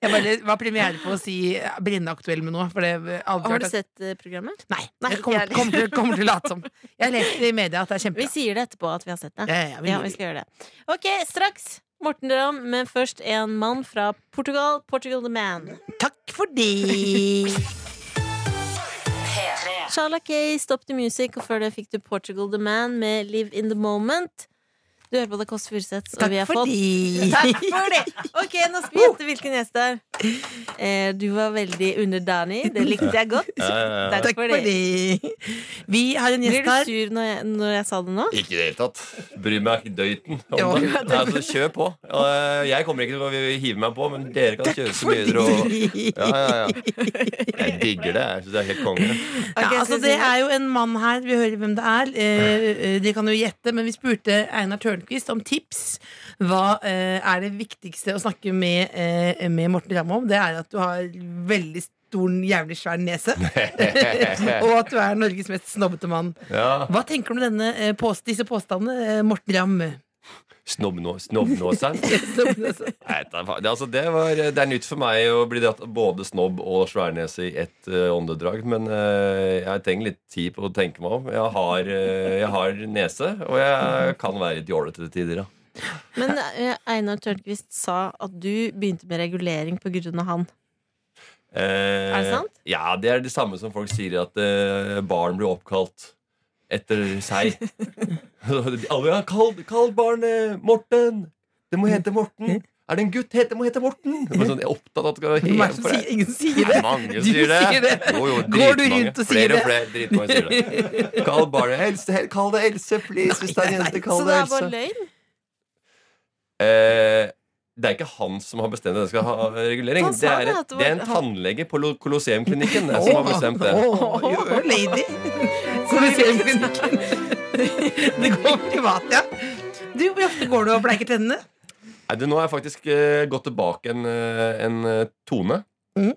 Speaker 4: Jeg bare var premiere på å si eh, brennende aktuell med noe. For det har aldri
Speaker 3: Har du
Speaker 4: vært-
Speaker 3: sett eh, programmet?
Speaker 4: Nei.
Speaker 3: Nei,
Speaker 4: jeg kommer,
Speaker 3: ikke jeg
Speaker 4: kommer, til, kommer til å late som. Jeg leste i media at det er
Speaker 3: Vi
Speaker 4: kjempebra.
Speaker 3: sier det etterpå at vi har sett det.
Speaker 4: Ja, ja, ja, vi
Speaker 3: Ja,
Speaker 4: gjør
Speaker 3: vi
Speaker 4: det.
Speaker 3: skal gjøre det. Ok, straks Morten Ramm, men først en mann fra Portugal. Portugal the Man.
Speaker 4: Takk for det!
Speaker 3: Shala Kay, Stop the Music, og før det fikk du Portugal the Man med Live in the Moment. Du hører på Det Kåss Furuseths, og
Speaker 4: Takk
Speaker 3: vi har
Speaker 4: for
Speaker 3: fått
Speaker 4: det!
Speaker 3: Takk for det! Ok, nå skal vi gjette hvilken gjest det er. Eh, du var veldig underdanig. Det likte jeg godt. Takk
Speaker 4: Takk
Speaker 3: for
Speaker 4: for
Speaker 3: det.
Speaker 4: det! Vi har en
Speaker 3: Blir
Speaker 4: gjest
Speaker 3: du
Speaker 4: her.
Speaker 3: sur når jeg, når jeg sa det nå?
Speaker 7: Ikke i det hele tatt. Bryr meg døyten
Speaker 4: Ja.
Speaker 7: om det. Nei, altså, kjør på. Eh, Jeg kommer ikke til å hive meg på, men dere kan kjøre så mye dere og ja, ja, ja. Jeg digger det. Jeg syns det er helt konge.
Speaker 4: Ja,
Speaker 3: Ok,
Speaker 4: altså
Speaker 3: skal vi
Speaker 4: Det
Speaker 3: si det?
Speaker 4: er jo en mann her, vi hører hvem det er. Eh, eh, de kan jo gjette, men vi spurte Einar Tørnquist om tips. Hva eh, er det viktigste å snakke med, eh, med Morten Ramm om? Det er at du har veldig stor, jævlig svær nese. og at du er Norges mest snobbete mann.
Speaker 7: Ja.
Speaker 4: Hva tenker du om denne, eh, påst disse påstandene, eh, Morten Ramm?
Speaker 7: Snobbnå- Snobbnåseren.
Speaker 4: Hva
Speaker 7: Nei, det, er- altså, det, var, det er nytt for meg å bli dratt både snobb og sværnese i ett eh, åndedrag. Men eh, jeg trenger litt tid på å tenke meg om. Jeg har, eh, jeg har nese, og jeg kan være litt jålete til tider. Ja.
Speaker 3: Men eh, Einar Tørnquist sa at du begynte med regulering på grunn av han.
Speaker 7: Eh,
Speaker 3: Er det sant?
Speaker 7: Ja, det er det samme som folk sier at eh, barn blir oppkalt etter seg. Alle ja, kall, kall barnet Morten! Det må hete Morten! Er det en gutt? Het, det må hete Morten! Det var sånn, jeg er opptatt av at det skal
Speaker 4: er det
Speaker 7: hete
Speaker 4: som
Speaker 7: for
Speaker 4: sier,
Speaker 7: deg.
Speaker 4: ingen sier
Speaker 7: Nei,
Speaker 4: det?
Speaker 7: mange
Speaker 4: Du
Speaker 7: sier det.
Speaker 4: sier det.
Speaker 7: Jo, jo,
Speaker 4: Går du
Speaker 7: dritmange.
Speaker 4: rundt og sier
Speaker 7: flere
Speaker 4: det?
Speaker 7: og flere dritmange sier det. Kall barnet Else. hel- Kall det Else, please, hvis det er en jente.
Speaker 3: Så
Speaker 7: Kall
Speaker 3: det
Speaker 7: det
Speaker 3: er bare
Speaker 7: Else.
Speaker 3: løgn?
Speaker 7: Eh, det er ikke han som har bestemt at det skal ha regulering.
Speaker 3: Han
Speaker 7: Det
Speaker 3: sa
Speaker 7: er,
Speaker 3: det, at
Speaker 7: et,
Speaker 3: det var-
Speaker 7: det er en tannlege på Lo- Colosseumklinikken eh, som har bestemt det.
Speaker 4: Åh, you're a lady. Så vi ser klinikken. Det går privat, ja. Du, Hvor ofte går du og bleiker tennene?
Speaker 7: Nei, du, nå har jeg faktisk eh, gått tilbake en, eh, en eh, tone.
Speaker 3: Mm.
Speaker 4: Mhm.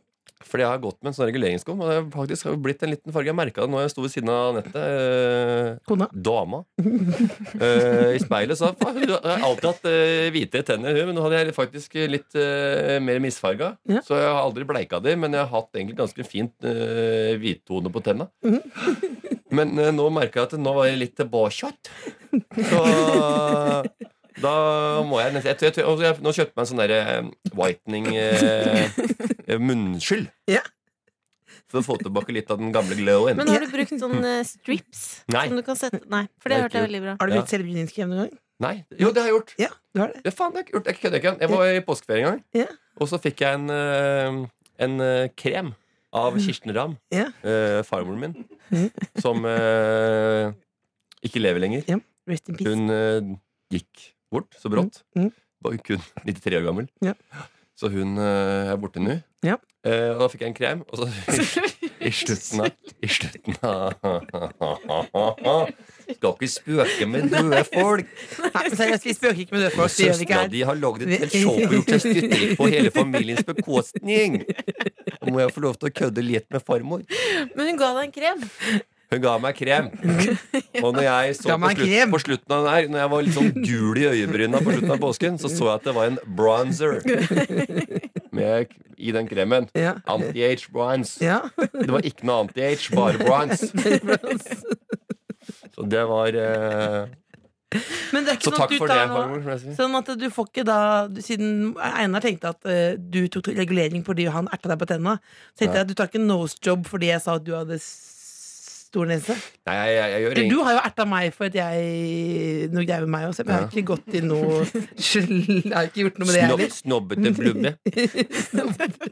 Speaker 7: Fordi jeg har gått med en sånn reguleringskum. Og det har faktisk blitt en liten farge. Jeg merka det når jeg sto ved siden av Anette. eh,
Speaker 4: Kona.
Speaker 7: dama. Eh, I speilet sa faen, hun har alltid hatt eh, hvite tenner, hun. Men nå hadde jeg faktisk litt eh, mer misfarga.
Speaker 4: Ja.
Speaker 7: Så jeg har aldri bleika de, men jeg har hatt egentlig ganske fint uh, hvittone på tenna.
Speaker 4: Mhm.
Speaker 7: men eh, nå merka jeg at nå var jeg litt tilbakekjøtt. Så da må jeg nesten jeg, tror- jeg, tror- og jeg, Nå kjøpte jeg meg en sånn derre eh, whitening eh, munnskyld.
Speaker 4: Ja.
Speaker 7: For å få tilbake litt av den gamle glowen.
Speaker 3: Men har du brukt sånne strips?
Speaker 7: Nei.
Speaker 3: Som du kan sette Nei, for det
Speaker 7: Det er
Speaker 3: hørte jeg
Speaker 7: kult.
Speaker 3: veldig bra.
Speaker 4: Har du
Speaker 7: Ja.
Speaker 4: blitt selvbryningskrem noen gang?
Speaker 7: Nei. Jo, det har jeg gjort.
Speaker 4: Ja, du har det.
Speaker 7: Det faen, det er kult. Jeg kødder ikke. Jeg var i påskeferie en gang,
Speaker 4: Ja.
Speaker 7: og så fikk jeg en, eh, en eh, krem av Kirsten Ramm,
Speaker 4: Ja.
Speaker 7: eh, farmoren min, som eh, ikke lever lenger.
Speaker 4: Rest in peace.
Speaker 7: Hun eh, gikk bort så brått.
Speaker 4: Mm, mm.
Speaker 7: Var kun 93 år gammel.
Speaker 4: Ja.
Speaker 7: Så hun eh, er borte nå.
Speaker 4: Ja.
Speaker 7: Eh, og da fikk jeg en krem, og så i slutten av I slutten av Skal ikke spøke med døde folk!
Speaker 4: Nei, seriøst, vi spøker ikke med døde folk. Det gjør vi ikke
Speaker 7: Søstera
Speaker 4: her.
Speaker 7: di har lagd et helt show og gjort seg styrtrik på hele familiens bekostning. Nå må jeg få lov til å kødde litt med farmor.
Speaker 3: Men hun ga deg en krem.
Speaker 7: Hun ga meg krem. Og når jeg så
Speaker 4: Ga
Speaker 7: på,
Speaker 4: meg krem.
Speaker 7: slutt, på slutten av den her, Når jeg var litt sånn gul i øyebryna på slutten av påsken, så så jeg at det var en bronzer med, i den kremen.
Speaker 4: Ja.
Speaker 7: Anti-age bronze.
Speaker 4: Ja.
Speaker 7: Det var ikke noe anti-age, bare bronze. Så det var eh,
Speaker 4: Men det er ikke
Speaker 7: Så
Speaker 4: sånn at
Speaker 7: takk
Speaker 4: du
Speaker 7: for det,
Speaker 4: tar noe
Speaker 7: farmor. som jeg sier.
Speaker 4: Sånn at du får ikke da du- Siden Einar tenkte at eh, du tok regulering fordi han erta deg på tenna, så tenkte jeg at du tar ikke nose job fordi jeg sa at du hadde s- stor nese.
Speaker 7: Nei, jeg, jeg, jeg gjør
Speaker 4: Eller,
Speaker 7: ingen
Speaker 4: du har jo erta meg for at jeg noe greier med meg også, men jeg har ikke gått til noe skyld. Jeg har ikke gjort noe med det
Speaker 7: Snobb,
Speaker 4: heller.
Speaker 7: snobbete blubbe.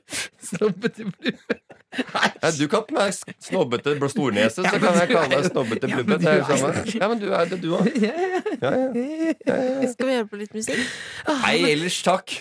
Speaker 4: Snobbete blubbe.
Speaker 7: Ja, du kan kalle meg s- snobbete bl- stornese,
Speaker 4: Ja,
Speaker 7: så
Speaker 4: men
Speaker 7: kan jeg
Speaker 4: du
Speaker 7: kalle
Speaker 4: er
Speaker 7: deg
Speaker 4: jo-
Speaker 7: snobbete
Speaker 4: Ja,
Speaker 7: blubbe.
Speaker 4: men
Speaker 7: Det er jo
Speaker 4: du er
Speaker 7: samme. Ja, men du er det, du òg. Ja, ja.
Speaker 3: Skal vi høre på litt musikk?
Speaker 7: Nei, ellers takk.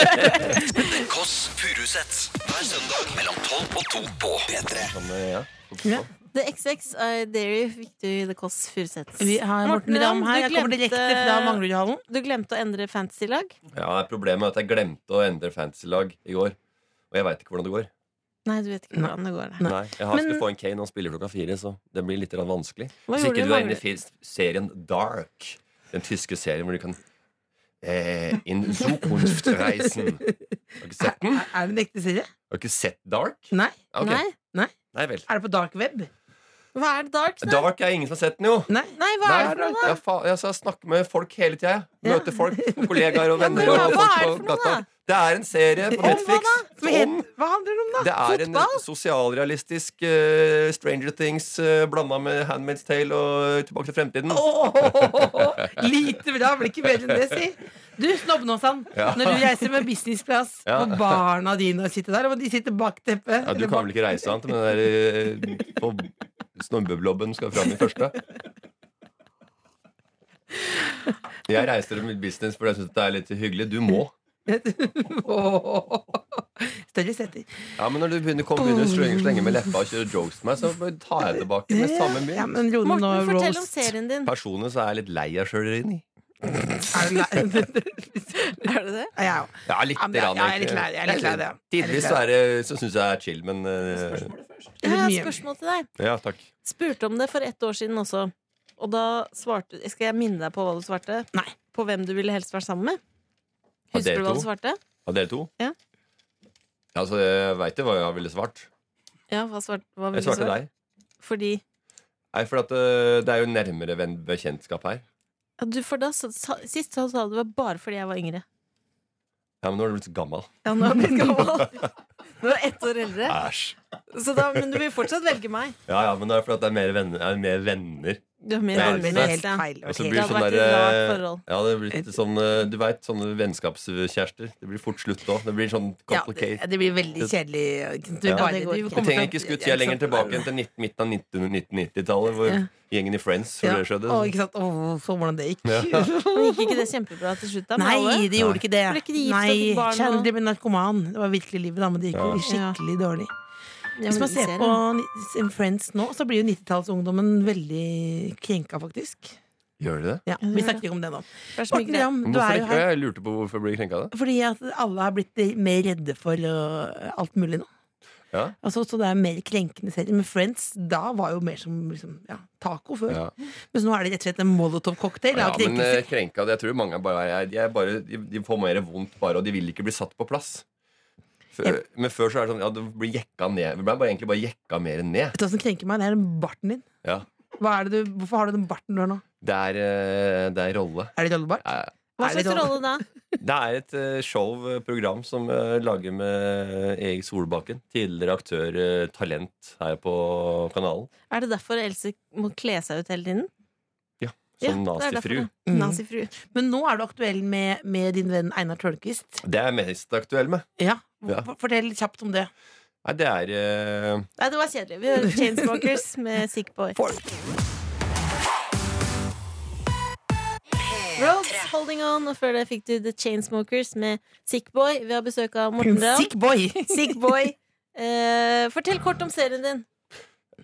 Speaker 1: The Kåss Furuseths. Hver søndag mellom 12 og 2 på P3.
Speaker 7: Sånn, eh, Ja.
Speaker 3: The XX I Dare You fikk du i The Kåss Furuseths.
Speaker 4: Vi har Morten Ramm her.
Speaker 3: du
Speaker 4: Jeg kommer direkte fra
Speaker 3: glemte-
Speaker 4: Manglerudhallen.
Speaker 3: Du glemte å endre fantasy-lag?
Speaker 7: Ja, Problemet er at jeg glemte å endre fantasy-lag i går. Og jeg veit ikke hvordan det går.
Speaker 3: Nei, du vet ikke hvordan det går.
Speaker 7: Nei, Jeg har
Speaker 3: Men-
Speaker 7: skulle få en Kane, han spiller klokka fire, så det blir litt grann vanskelig.
Speaker 3: Hva
Speaker 7: Hvis
Speaker 3: gjorde
Speaker 7: ikke
Speaker 3: du
Speaker 7: du
Speaker 3: i
Speaker 7: er inne i
Speaker 3: Mangler-
Speaker 7: fi- serien Dark, den tyske serien hvor du kan eh, In Zukunftsreisen. Har ikke sett den?
Speaker 4: Er, er det en ekte serie?
Speaker 7: Har ikke sett Dark?
Speaker 4: Nei.
Speaker 7: Ok.
Speaker 3: Nei?
Speaker 7: Nei vel.
Speaker 4: Er det på dark web?
Speaker 3: Hva er det dark? Da?
Speaker 7: Dark er ingen som har sett den, jo.
Speaker 4: Nei.
Speaker 3: Nei, hva
Speaker 7: Nei,
Speaker 3: er det for noe?
Speaker 7: jeg, fa jeg, jeg snakker med folk hele tida. Møter folk, kollegaer og
Speaker 3: Ja, men
Speaker 7: venner.
Speaker 3: hva-
Speaker 7: og
Speaker 3: hva er
Speaker 7: folk
Speaker 3: det for noe,
Speaker 7: på gata.
Speaker 3: da?
Speaker 7: Det er en serie på Netflix
Speaker 4: Som het-
Speaker 7: om
Speaker 4: Hva handler det om, da?
Speaker 7: det er en
Speaker 3: Fotball?
Speaker 7: sosialrealistisk eh, Stranger Things uh, blanda med Handmaid's Tale og Tilbake til fremtiden.
Speaker 4: Åh, lite bra, blir ikke bedre enn det, si. Du, Snobbnåsan,
Speaker 7: Ja.
Speaker 4: når du reiser med businessplass,
Speaker 7: Ja.
Speaker 4: og barna dine sitter der, og de sitter bak teppet
Speaker 7: Ja, du
Speaker 4: eller
Speaker 7: kan
Speaker 4: bak-
Speaker 7: vel ikke reise an til den der uh, snobbeblobben skal fram i første? Jeg reiser med business fordi jeg syns det er litt hyggelig. Du må.
Speaker 4: Åh. Større setter.
Speaker 7: Ja, Men når du begynner, kom, begynner å slenge, slenge med leppa og kjøre jokes til meg, så bare tar jeg tilbake med samme mynt.
Speaker 4: Ja, men Rone, nå
Speaker 3: Morten, fortell om
Speaker 4: roast.
Speaker 3: serien din.
Speaker 7: Personlig så er jeg litt lei av sjølerieni.
Speaker 4: Er du lei?
Speaker 3: Er det det?
Speaker 4: Ja, jeg òg.
Speaker 7: Ja, litt.
Speaker 4: Ja, men jeg-
Speaker 7: grann,
Speaker 4: jeg er litt
Speaker 7: egentlig.
Speaker 4: lei, jeg er litt lei, ja. Jeg er litt
Speaker 7: Tidvis så,
Speaker 4: lei.
Speaker 7: er det- så syns jeg det er chill, men eh,
Speaker 3: Jeg har et
Speaker 4: Mye.
Speaker 3: spørsmål til deg.
Speaker 7: Ja, takk.
Speaker 3: Spurte om det for ett år siden også. Og da svarte Skal jeg minne deg på hva du svarte?
Speaker 4: Nei.
Speaker 3: På hvem du ville helst vært sammen med?
Speaker 7: Av
Speaker 3: Husker
Speaker 7: dere
Speaker 3: du hva
Speaker 7: to?
Speaker 3: du svarte?
Speaker 7: Og dere to?
Speaker 3: Ja.
Speaker 7: Ja, Altså, jeg veit jo hva jeg ville svart.
Speaker 3: Ja, hva svart, hva ville
Speaker 7: Jeg
Speaker 3: du
Speaker 7: svarte
Speaker 3: svart?
Speaker 7: deg.
Speaker 3: Fordi
Speaker 7: Nei, for at, eh, det er jo nærmere venn bekjentskap her.
Speaker 3: ja, du, for da, sa- sa- Sist så sa du det var bare fordi jeg var yngre.
Speaker 7: Ja, men nå er du blitt så gammel.
Speaker 3: Ja, nå er jeg blitt gammel. Du er ett år eldre.
Speaker 7: Æsj.
Speaker 3: Så da, men du vil fortsatt velge meg.
Speaker 7: Ja, ja, men det er fordi at det er mer venner. Er mer venner.
Speaker 3: Du har mer
Speaker 4: Men
Speaker 7: Nei,
Speaker 3: alvorlig
Speaker 4: det er helt
Speaker 3: helt, ja.
Speaker 4: feil.
Speaker 7: Og så
Speaker 4: ok.
Speaker 3: Det
Speaker 7: blir det
Speaker 3: hadde
Speaker 7: sånn
Speaker 3: vært
Speaker 7: der,
Speaker 3: et
Speaker 7: eh,
Speaker 3: rart forhold.
Speaker 7: Ja, det blir litt sånn eh, Du veit, sånne vennskapskjærester. Det blir fort slutt òg. Det blir sånn
Speaker 4: Ja, det,
Speaker 7: complicated.
Speaker 4: det blir veldig kjedelig. Du
Speaker 7: Ja,
Speaker 4: bare- du
Speaker 3: det går ikke.
Speaker 4: kommer
Speaker 7: Vi
Speaker 4: til å-
Speaker 7: trenger ikke skutt tida lenger tilbake enn til nitt- midten av 1990-tallet, hvor
Speaker 4: Ja.
Speaker 7: gjengen i Friends
Speaker 4: Ja.
Speaker 7: rører seg.
Speaker 4: Å, ikke sant? Å, så hvordan det gikk.
Speaker 3: Men gikk ikke det kjempebra til slutt, da? med alle?
Speaker 4: Nei, de gjorde ikke det.
Speaker 3: Ble ikke de gift og
Speaker 4: Nei,
Speaker 3: fikk barn og-
Speaker 4: Chandler ble narkoman. Det var virkelig livet, da, men det gikk jo
Speaker 3: Ja.
Speaker 4: skikkelig dårlig.
Speaker 3: Ja,
Speaker 4: Hvis
Speaker 3: men
Speaker 4: man ser
Speaker 3: serien.
Speaker 4: på ni- Friends nå, så blir jo 90-tallsungdommen veldig krenka, faktisk.
Speaker 7: Gjør de det?
Speaker 4: Ja, Vi snakker ikke om det nå.
Speaker 3: Det er så mye
Speaker 4: Morten
Speaker 3: greier.
Speaker 4: Ramm, du
Speaker 7: Hvorfor
Speaker 4: er jo
Speaker 7: ikke?
Speaker 4: her
Speaker 7: Jeg lurte på hvorfor jeg blir krenka av det.
Speaker 4: fordi at alle har blitt mer redde for øh, alt mulig nå.
Speaker 7: Ja.
Speaker 4: Altså, så det er mer krenkende serier. Men Friends da var jo mer som liksom, ja, taco før.
Speaker 7: Ja.
Speaker 4: Mens nå er det rett og slett en molotov-cocktail
Speaker 7: Ja,
Speaker 4: av
Speaker 7: men
Speaker 4: krenkelser.
Speaker 7: eh, krenka det, jeg tror mange er bare, er, de, er bare de, de får mer vondt bare, og de vil ikke bli satt på plass. Før, Men før så er det sånn, ja, du blir jekka ned. Du ble bare, egentlig bare jekka mer ned.
Speaker 4: Vet du hva som krenker meg? Det er den barten din.
Speaker 7: Ja.
Speaker 4: Hva er det du, hvorfor har du den barten du har nå?
Speaker 7: Det er, eh, det er rolle.
Speaker 4: Er det rollebart?
Speaker 7: Eh,
Speaker 3: Hva
Speaker 4: Er det
Speaker 3: slags
Speaker 4: rolle?
Speaker 3: rolle da?
Speaker 7: Det er et eh, show, eh, program, som eh, lager med eh, Erik Solbakken. Tidligere aktør, eh, talent, her på kanalen.
Speaker 3: Er det derfor Else må kle seg ut hele tiden?
Speaker 7: Som
Speaker 3: Ja, det er
Speaker 7: nazifru.
Speaker 3: derfor det.
Speaker 4: Mm.
Speaker 3: Nazifru.
Speaker 4: Men nå er du aktuell med, med din venn Einar Tørnquist.
Speaker 7: Det er jeg mest aktuell med.
Speaker 4: Ja.
Speaker 7: Ja.
Speaker 4: for- Fortell kjapt om det.
Speaker 7: Nei, det er eh,
Speaker 3: Nei, det var kjedelig. Vi hører Chainsmokers med Sick Boy. Rhodes, Holding On, og før det fikk du The Chainsmokers med Sick Boy. Vi har besøk av Morten Ramm.
Speaker 4: Sick boy!
Speaker 3: Sick Boy. Eh, fortell kort om serien din.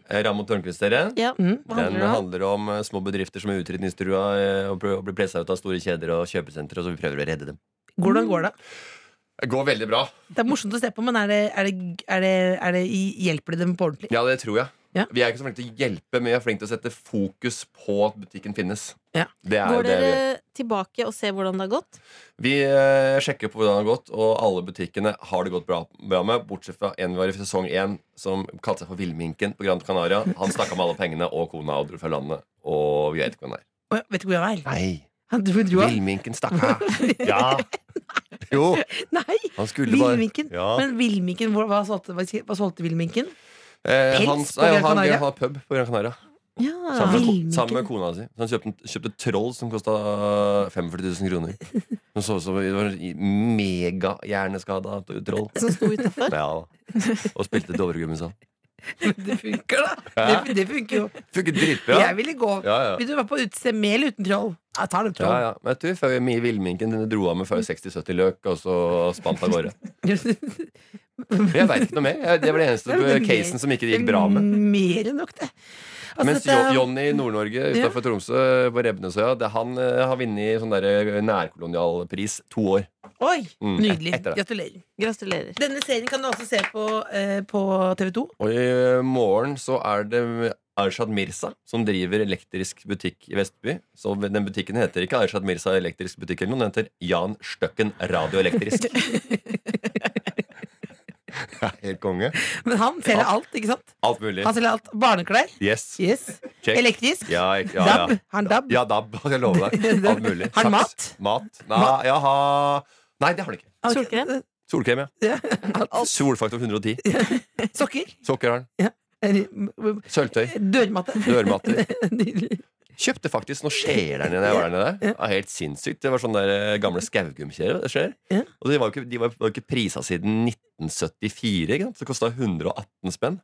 Speaker 7: eh, Ramon Tørnquist-serien.
Speaker 3: Ja,
Speaker 4: Mm.
Speaker 3: hva
Speaker 7: Den
Speaker 3: handler det om?
Speaker 7: handler om eh, små bedrifter som er utrydningstrua eh, og prø- og blir pressa ut av store kjeder og kjøpesentre, og så vi prøver å redde dem.
Speaker 3: Mm.
Speaker 4: Hvordan går det?
Speaker 7: Det går veldig bra.
Speaker 4: Det er morsomt å se på, men er det, er det, er det, er det, hjelper det dem på ordentlig?
Speaker 7: Ja, det tror jeg.
Speaker 4: Ja.
Speaker 7: Vi er ikke så flinke til å hjelpe, men vi er flinke til å sette fokus på at butikken finnes.
Speaker 4: Ja.
Speaker 7: Det er jo
Speaker 3: Går
Speaker 7: det vi
Speaker 3: dere
Speaker 7: gjør.
Speaker 3: tilbake og ser hvordan det har gått?
Speaker 7: Vi eh, sjekker på hvordan det har gått, og alle butikkene har det gått bra, bra med, bortsett fra en vi var i sesong én som kalte seg for Villminken på Gran Canaria. Han stakk av med alle pengene og kona og dro fra landet, og vi vet ikke hvor han er.
Speaker 4: Å, Vet du hvor jeg er?
Speaker 7: Nei,
Speaker 4: Han dro, dro han.
Speaker 7: Villminken stakk av. Ja. Jo,
Speaker 4: Nei!
Speaker 7: han skulle bare
Speaker 4: Villminken.
Speaker 7: Ja.
Speaker 4: Men villminken, hvor- hva solgte, hva hva solgte villminken?
Speaker 7: Eh,
Speaker 4: Pels
Speaker 7: han,
Speaker 4: på Gran
Speaker 7: nei, han,
Speaker 4: Canaria? Ah.
Speaker 7: han har pub på Gran Canaria.
Speaker 3: Ja.
Speaker 7: Sammen, med,
Speaker 4: Villminken.
Speaker 7: ko- sammen med kona si. Så han kjøpte, kjøpte troll som kosta 45 000 kroner. Han så ut som det var en megahjerneskada troll.
Speaker 3: Som sto
Speaker 4: Sånn.
Speaker 3: utafor?
Speaker 7: Ja, og spilte Dovregummisen sa han.
Speaker 4: Det funker, da!
Speaker 7: Ja.
Speaker 4: Det, det funker jo.
Speaker 7: Funket dritbra!
Speaker 4: Jeg ville gå.
Speaker 7: Ja, ja.
Speaker 4: Vil du være på utested med eller uten troll? Jeg tar den
Speaker 7: Ja,
Speaker 4: troll.
Speaker 7: ja. Men jeg tror før vi i villminken den dro av med før 60-70 løk, og så spant av gårde. Men jeg veit ikke noe mer. Jeg- Det var det eneste
Speaker 4: Nei, men det-
Speaker 7: casen som ikke det gikk bra med.
Speaker 4: Mer enn nok, det. Altså,
Speaker 7: Mens
Speaker 4: dette er-
Speaker 7: Jo- Johnny i Nord-Norge utafor Tromsø, på Rebnesøya, det- han eh, har vunnet sånn der nærkolonialpris to år.
Speaker 4: Oi!
Speaker 7: Mm,
Speaker 4: Nydelig.
Speaker 7: etter det.
Speaker 4: Gratulerer.
Speaker 3: Gratulerer.
Speaker 4: Denne serien kan du også se på, eh, på TV2.
Speaker 7: Og i morgen så er det Arshad Mirza, som driver elektrisk butikk i Vestby. Så den butikken heter ikke Arshad Mirza elektrisk butikk eller noe, den heter Jan Støkken radioelektrisk. Ja, Helt konge.
Speaker 4: Men han selger alt, ikke sant?
Speaker 7: Alt mulig.
Speaker 4: Han selger alt. Barneklær.
Speaker 7: Yes.
Speaker 4: Yes.
Speaker 7: Check.
Speaker 4: Elektrisk.
Speaker 7: Ja, ek- ja, ja.
Speaker 4: Dab. Har han dab?
Speaker 7: Ja, dab, jeg lover deg. Alt mulig.
Speaker 4: Har han
Speaker 7: Saks, Mat? Nei, jeg har- Nei, det har han ikke.
Speaker 3: Solkrem?
Speaker 7: Solkrem, ja.
Speaker 4: Ja.
Speaker 7: Solfaktor 110.
Speaker 4: Eh, Sokker.
Speaker 7: Sokker har han. Sølvtøy.
Speaker 4: Dørmatte.
Speaker 7: Dørmatter.
Speaker 4: Nydelig.
Speaker 7: Kjøpte faktisk noen skjeer der nede. da Jeg var der nede. Det var helt sinnssykt. Det var sånne der eh, gamle skaugumskjeer.
Speaker 4: Ja.
Speaker 7: Og de var jo ikke, de var, var ikke prisa siden 1974. Ikke sant? Så kosta 118 spenn.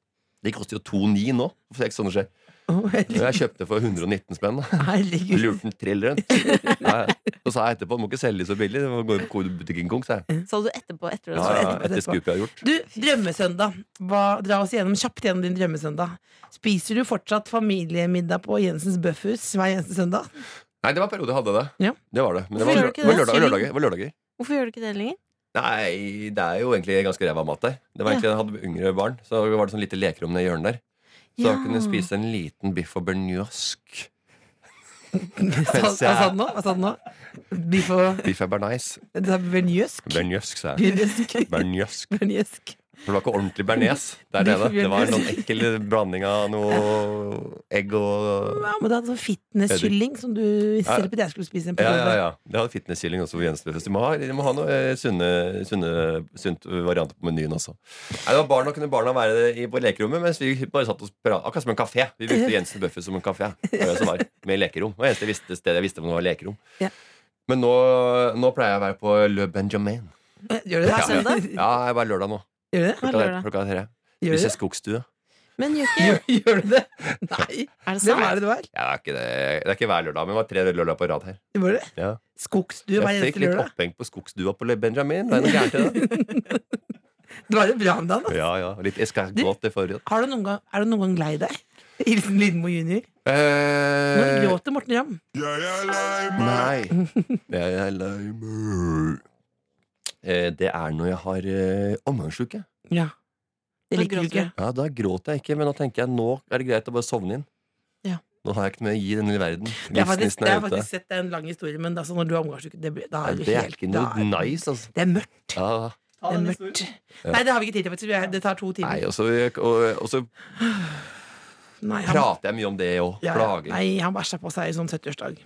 Speaker 7: De koster jo 2,9 nå. For jeg, sånne skjeer.
Speaker 4: Å,
Speaker 7: Og jeg kjøpte for 119 spenn. da.
Speaker 4: Herregud.
Speaker 7: Lurte en trill rundt. Ja, ja. Så sa jeg etterpå du må ikke selge de så billig. Du må gå i butikken Kong, sa jeg.
Speaker 3: Sa du etterpå? etter
Speaker 7: Ja,
Speaker 3: det?
Speaker 7: ja, etter skupet jeg har gjort.
Speaker 4: Du, drømmesøndag. Hva, dra oss gjennom kjapt gjennom din drømmesøndag. Spiser du fortsatt familiemiddag på Jensens Bøffhus hver eneste søndag?
Speaker 7: Nei, det var en periode jeg hadde det.
Speaker 4: Ja.
Speaker 7: Det var det. Men det
Speaker 3: Hvorfor
Speaker 7: var,
Speaker 3: gjør du ikke
Speaker 7: lø- det
Speaker 3: det?
Speaker 7: var lørdag- lørdager. det var lørdager.
Speaker 3: Hvorfor gjør du ikke det lenger?
Speaker 7: Nei, det er jo egentlig ganske ræva mat der. Det var egentlig, Jeg hadde yngre barn, så var det sånn lite lekerom nede i hjørnet der. Så da kunne jeg spise en liten biff og bearnaisk.
Speaker 4: Hva sa hva sa den nå? Hva sa den nå? Biff og
Speaker 7: Biff er bearnais.
Speaker 4: det er Bearnaisk?
Speaker 7: Bearnaisk, sa jeg.
Speaker 4: Bearnaisk.
Speaker 7: Bearnaisk.
Speaker 4: Bearnaisk.
Speaker 7: For det var ikke ordentlig bearnés der
Speaker 4: Biff
Speaker 7: nede.
Speaker 4: og
Speaker 7: Det var en
Speaker 4: bearnaise.
Speaker 7: sånn ekkel blanding av noe egg og
Speaker 4: Ja, men du hadde sånn fitnesskylling som du selv på jeg skulle spise en
Speaker 7: ja,
Speaker 4: periode.
Speaker 7: ja, ja. Det hadde fitnesskilling også på Jensfest. De må ha, de må ha noe eh, sunne, sunne, sunt varianter på menyen også. Nei, det var barna, kunne barna være i, på lekerommet mens vi bare satt og pratet. Akkurat som en kafé. Vi brukte Jensen Bøffe som en kafé. Det var det som var, med lekerom. Det var eneste jeg visste, stedet jeg visste om det var lekerom.
Speaker 4: Ja.
Speaker 7: Men nå, nå pleier jeg å være på Le Benjamin.
Speaker 4: Eh, Gjør du det?
Speaker 7: Ja. Ja, jeg er bare lørdag nå.
Speaker 4: Gjør du det?
Speaker 3: Hver
Speaker 7: Klokka,
Speaker 3: lørdag.
Speaker 7: klokka tre.
Speaker 4: Gjør du
Speaker 7: Spiser
Speaker 4: det?
Speaker 7: skogstue.
Speaker 3: Men gjør ikke
Speaker 4: Gjør, gjør du det? Nei. Hvem
Speaker 3: Er det sant?
Speaker 4: er det du er?
Speaker 7: Ja, det, er ikke det. det er ikke hver lørdag, men det var tre lørdager på rad her.
Speaker 4: Gjør du det?
Speaker 7: Ja.
Speaker 4: Skogsdue hver
Speaker 7: Jeg fikk
Speaker 4: eneste
Speaker 7: litt
Speaker 4: lørdag?
Speaker 7: oppheng på skogsdua på Le Benjamin. Det er noe gærent i det.
Speaker 4: Det var jo bra om dagen. da.
Speaker 7: Ja, ja. Litt escargot i forrige.
Speaker 4: Har du noen gang, er du noen gang lei deg? Hilsen Lindmo jr. Når
Speaker 7: Eh,
Speaker 4: gråter Morten Ramm?
Speaker 7: Nei. Jeg er lei meg. Eh, Det er når jeg har eh, omgangsuke.
Speaker 4: Ja. Det
Speaker 3: Da
Speaker 4: liker du
Speaker 3: gråter
Speaker 4: ikke.
Speaker 3: du.
Speaker 7: Ja, da gråter jeg ikke, men nå tenker jeg nå er det greit å bare sovne inn.
Speaker 4: Ja.
Speaker 7: Nå har jeg ikke noe mer å gi denne lille verden.
Speaker 4: Det er faktisk,
Speaker 7: Livsnissen
Speaker 4: det
Speaker 7: er
Speaker 4: er
Speaker 7: ute.
Speaker 4: faktisk sett det er en lang historie, men altså, når du har omgangsuke det, blir- da
Speaker 7: Nei,
Speaker 4: er du
Speaker 7: det er
Speaker 4: helt-
Speaker 7: ikke
Speaker 4: da
Speaker 7: noe
Speaker 4: er-
Speaker 7: nice, altså.
Speaker 4: Det er mørkt.
Speaker 7: Ja.
Speaker 6: Ta
Speaker 4: Det er
Speaker 6: den
Speaker 4: mørkt.
Speaker 6: historien.
Speaker 4: Nei, det har vi ikke tid til, faktisk. Vi er- Det tar to timer.
Speaker 7: Nei, og så, og, og så
Speaker 4: Nei, han-
Speaker 7: prater jeg mye om det òg.
Speaker 4: Ja, ja.
Speaker 7: Plager.
Speaker 4: Nei, han bæsja på seg i sånn 70-årsdag.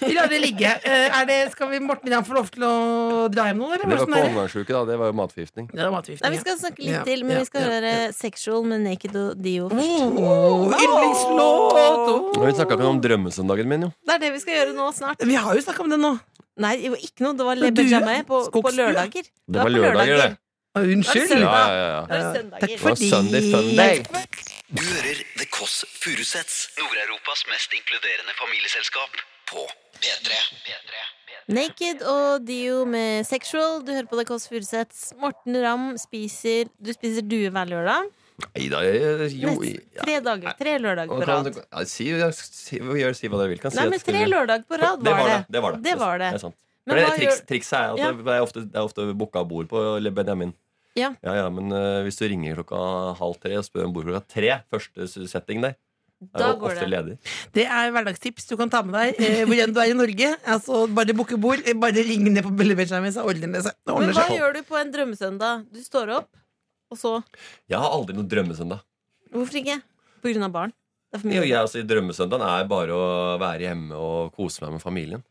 Speaker 4: Vi lar det ligge. Eh, Er det, skal vi Morten Ramm få lov til å dra hjem nå, eller?
Speaker 7: Det var
Speaker 4: Hvordan er sånn
Speaker 7: ikke
Speaker 4: det?
Speaker 7: omgangsuke, da. Det var jo matforgiftning.
Speaker 4: Det var matforgiftning,
Speaker 3: Nei, vi
Speaker 4: ja.
Speaker 3: skal snakke litt
Speaker 4: Ja,
Speaker 3: til, men
Speaker 4: ja,
Speaker 3: vi skal
Speaker 4: ja,
Speaker 3: høre Sexual med Naked og Dio
Speaker 7: Mm.
Speaker 3: først.
Speaker 4: Oh, Yndlingslåt!
Speaker 7: Men vi snakka ikke om drømmesøndagen min, jo.
Speaker 3: Det er det vi skal gjøre nå snart.
Speaker 4: Oh. Vi har jo snakka om det nå.
Speaker 3: Nei, det var ikke noe. Det var Le
Speaker 4: Men du,
Speaker 3: Benjamin på, på
Speaker 4: skogsdue?
Speaker 3: lørdager.
Speaker 7: Det var lørdager, det.
Speaker 4: Å, Unnskyld.
Speaker 3: Ja,
Speaker 7: Ja, ja, ja.
Speaker 3: Det var
Speaker 4: Takk
Speaker 3: søndager.
Speaker 7: Det var
Speaker 4: fordi
Speaker 7: Sunday Funday.
Speaker 1: Du hører The Kåss Furuseths, Nord-Europas mest inkluderende familieselskap, på P3.
Speaker 3: Naked og Dio med Sexual. Du hører på The Kåss Furuseths. Morten Ramm spiser Du spiser due hver lørdag.
Speaker 7: Nei da, jeg- jo
Speaker 3: Nest, tre dager, tre lørdager
Speaker 7: Og
Speaker 3: på
Speaker 7: kan,
Speaker 3: rad.
Speaker 7: ja, si, ja, si, gjør, si hva dere vil. Kan si
Speaker 3: Nei,
Speaker 7: at
Speaker 3: men
Speaker 7: skriver-
Speaker 3: tre lørdager på rad
Speaker 7: det
Speaker 3: var det.
Speaker 7: Det var det.
Speaker 3: Det var det.
Speaker 7: er sant.
Speaker 3: Men
Speaker 7: For det
Speaker 3: hva
Speaker 7: triks,
Speaker 3: gjør-
Speaker 7: trikset er at
Speaker 3: Ja.
Speaker 7: det er ofte, det er ofte booka bord på Le Benjamin.
Speaker 3: Ja.
Speaker 7: Ja, ja, men eh, hvis du ringer klokka halv tre og spør om bord klokka tre, første setting der, er
Speaker 3: Da
Speaker 7: jo
Speaker 3: går
Speaker 7: ofte
Speaker 3: det.
Speaker 7: ledig.
Speaker 4: Det er hverdagstips du kan ta med deg eh, hvor enn du er i Norge. Altså, bare booke bord, eh, bare ring ned på Belle Benjamin, så ordner det seg. Det
Speaker 3: Men
Speaker 4: ordner
Speaker 3: hva
Speaker 4: seg.
Speaker 3: gjør du på en drømmesøndag? Du står opp, og så
Speaker 7: Jeg har aldri noen drømmesøndag.
Speaker 3: Hvorfor ikke? På grunn av barn. Det er for
Speaker 7: Jo,
Speaker 3: mye.
Speaker 7: jeg, altså, drømmesøndagen er bare å være hjemme og kose meg med familien.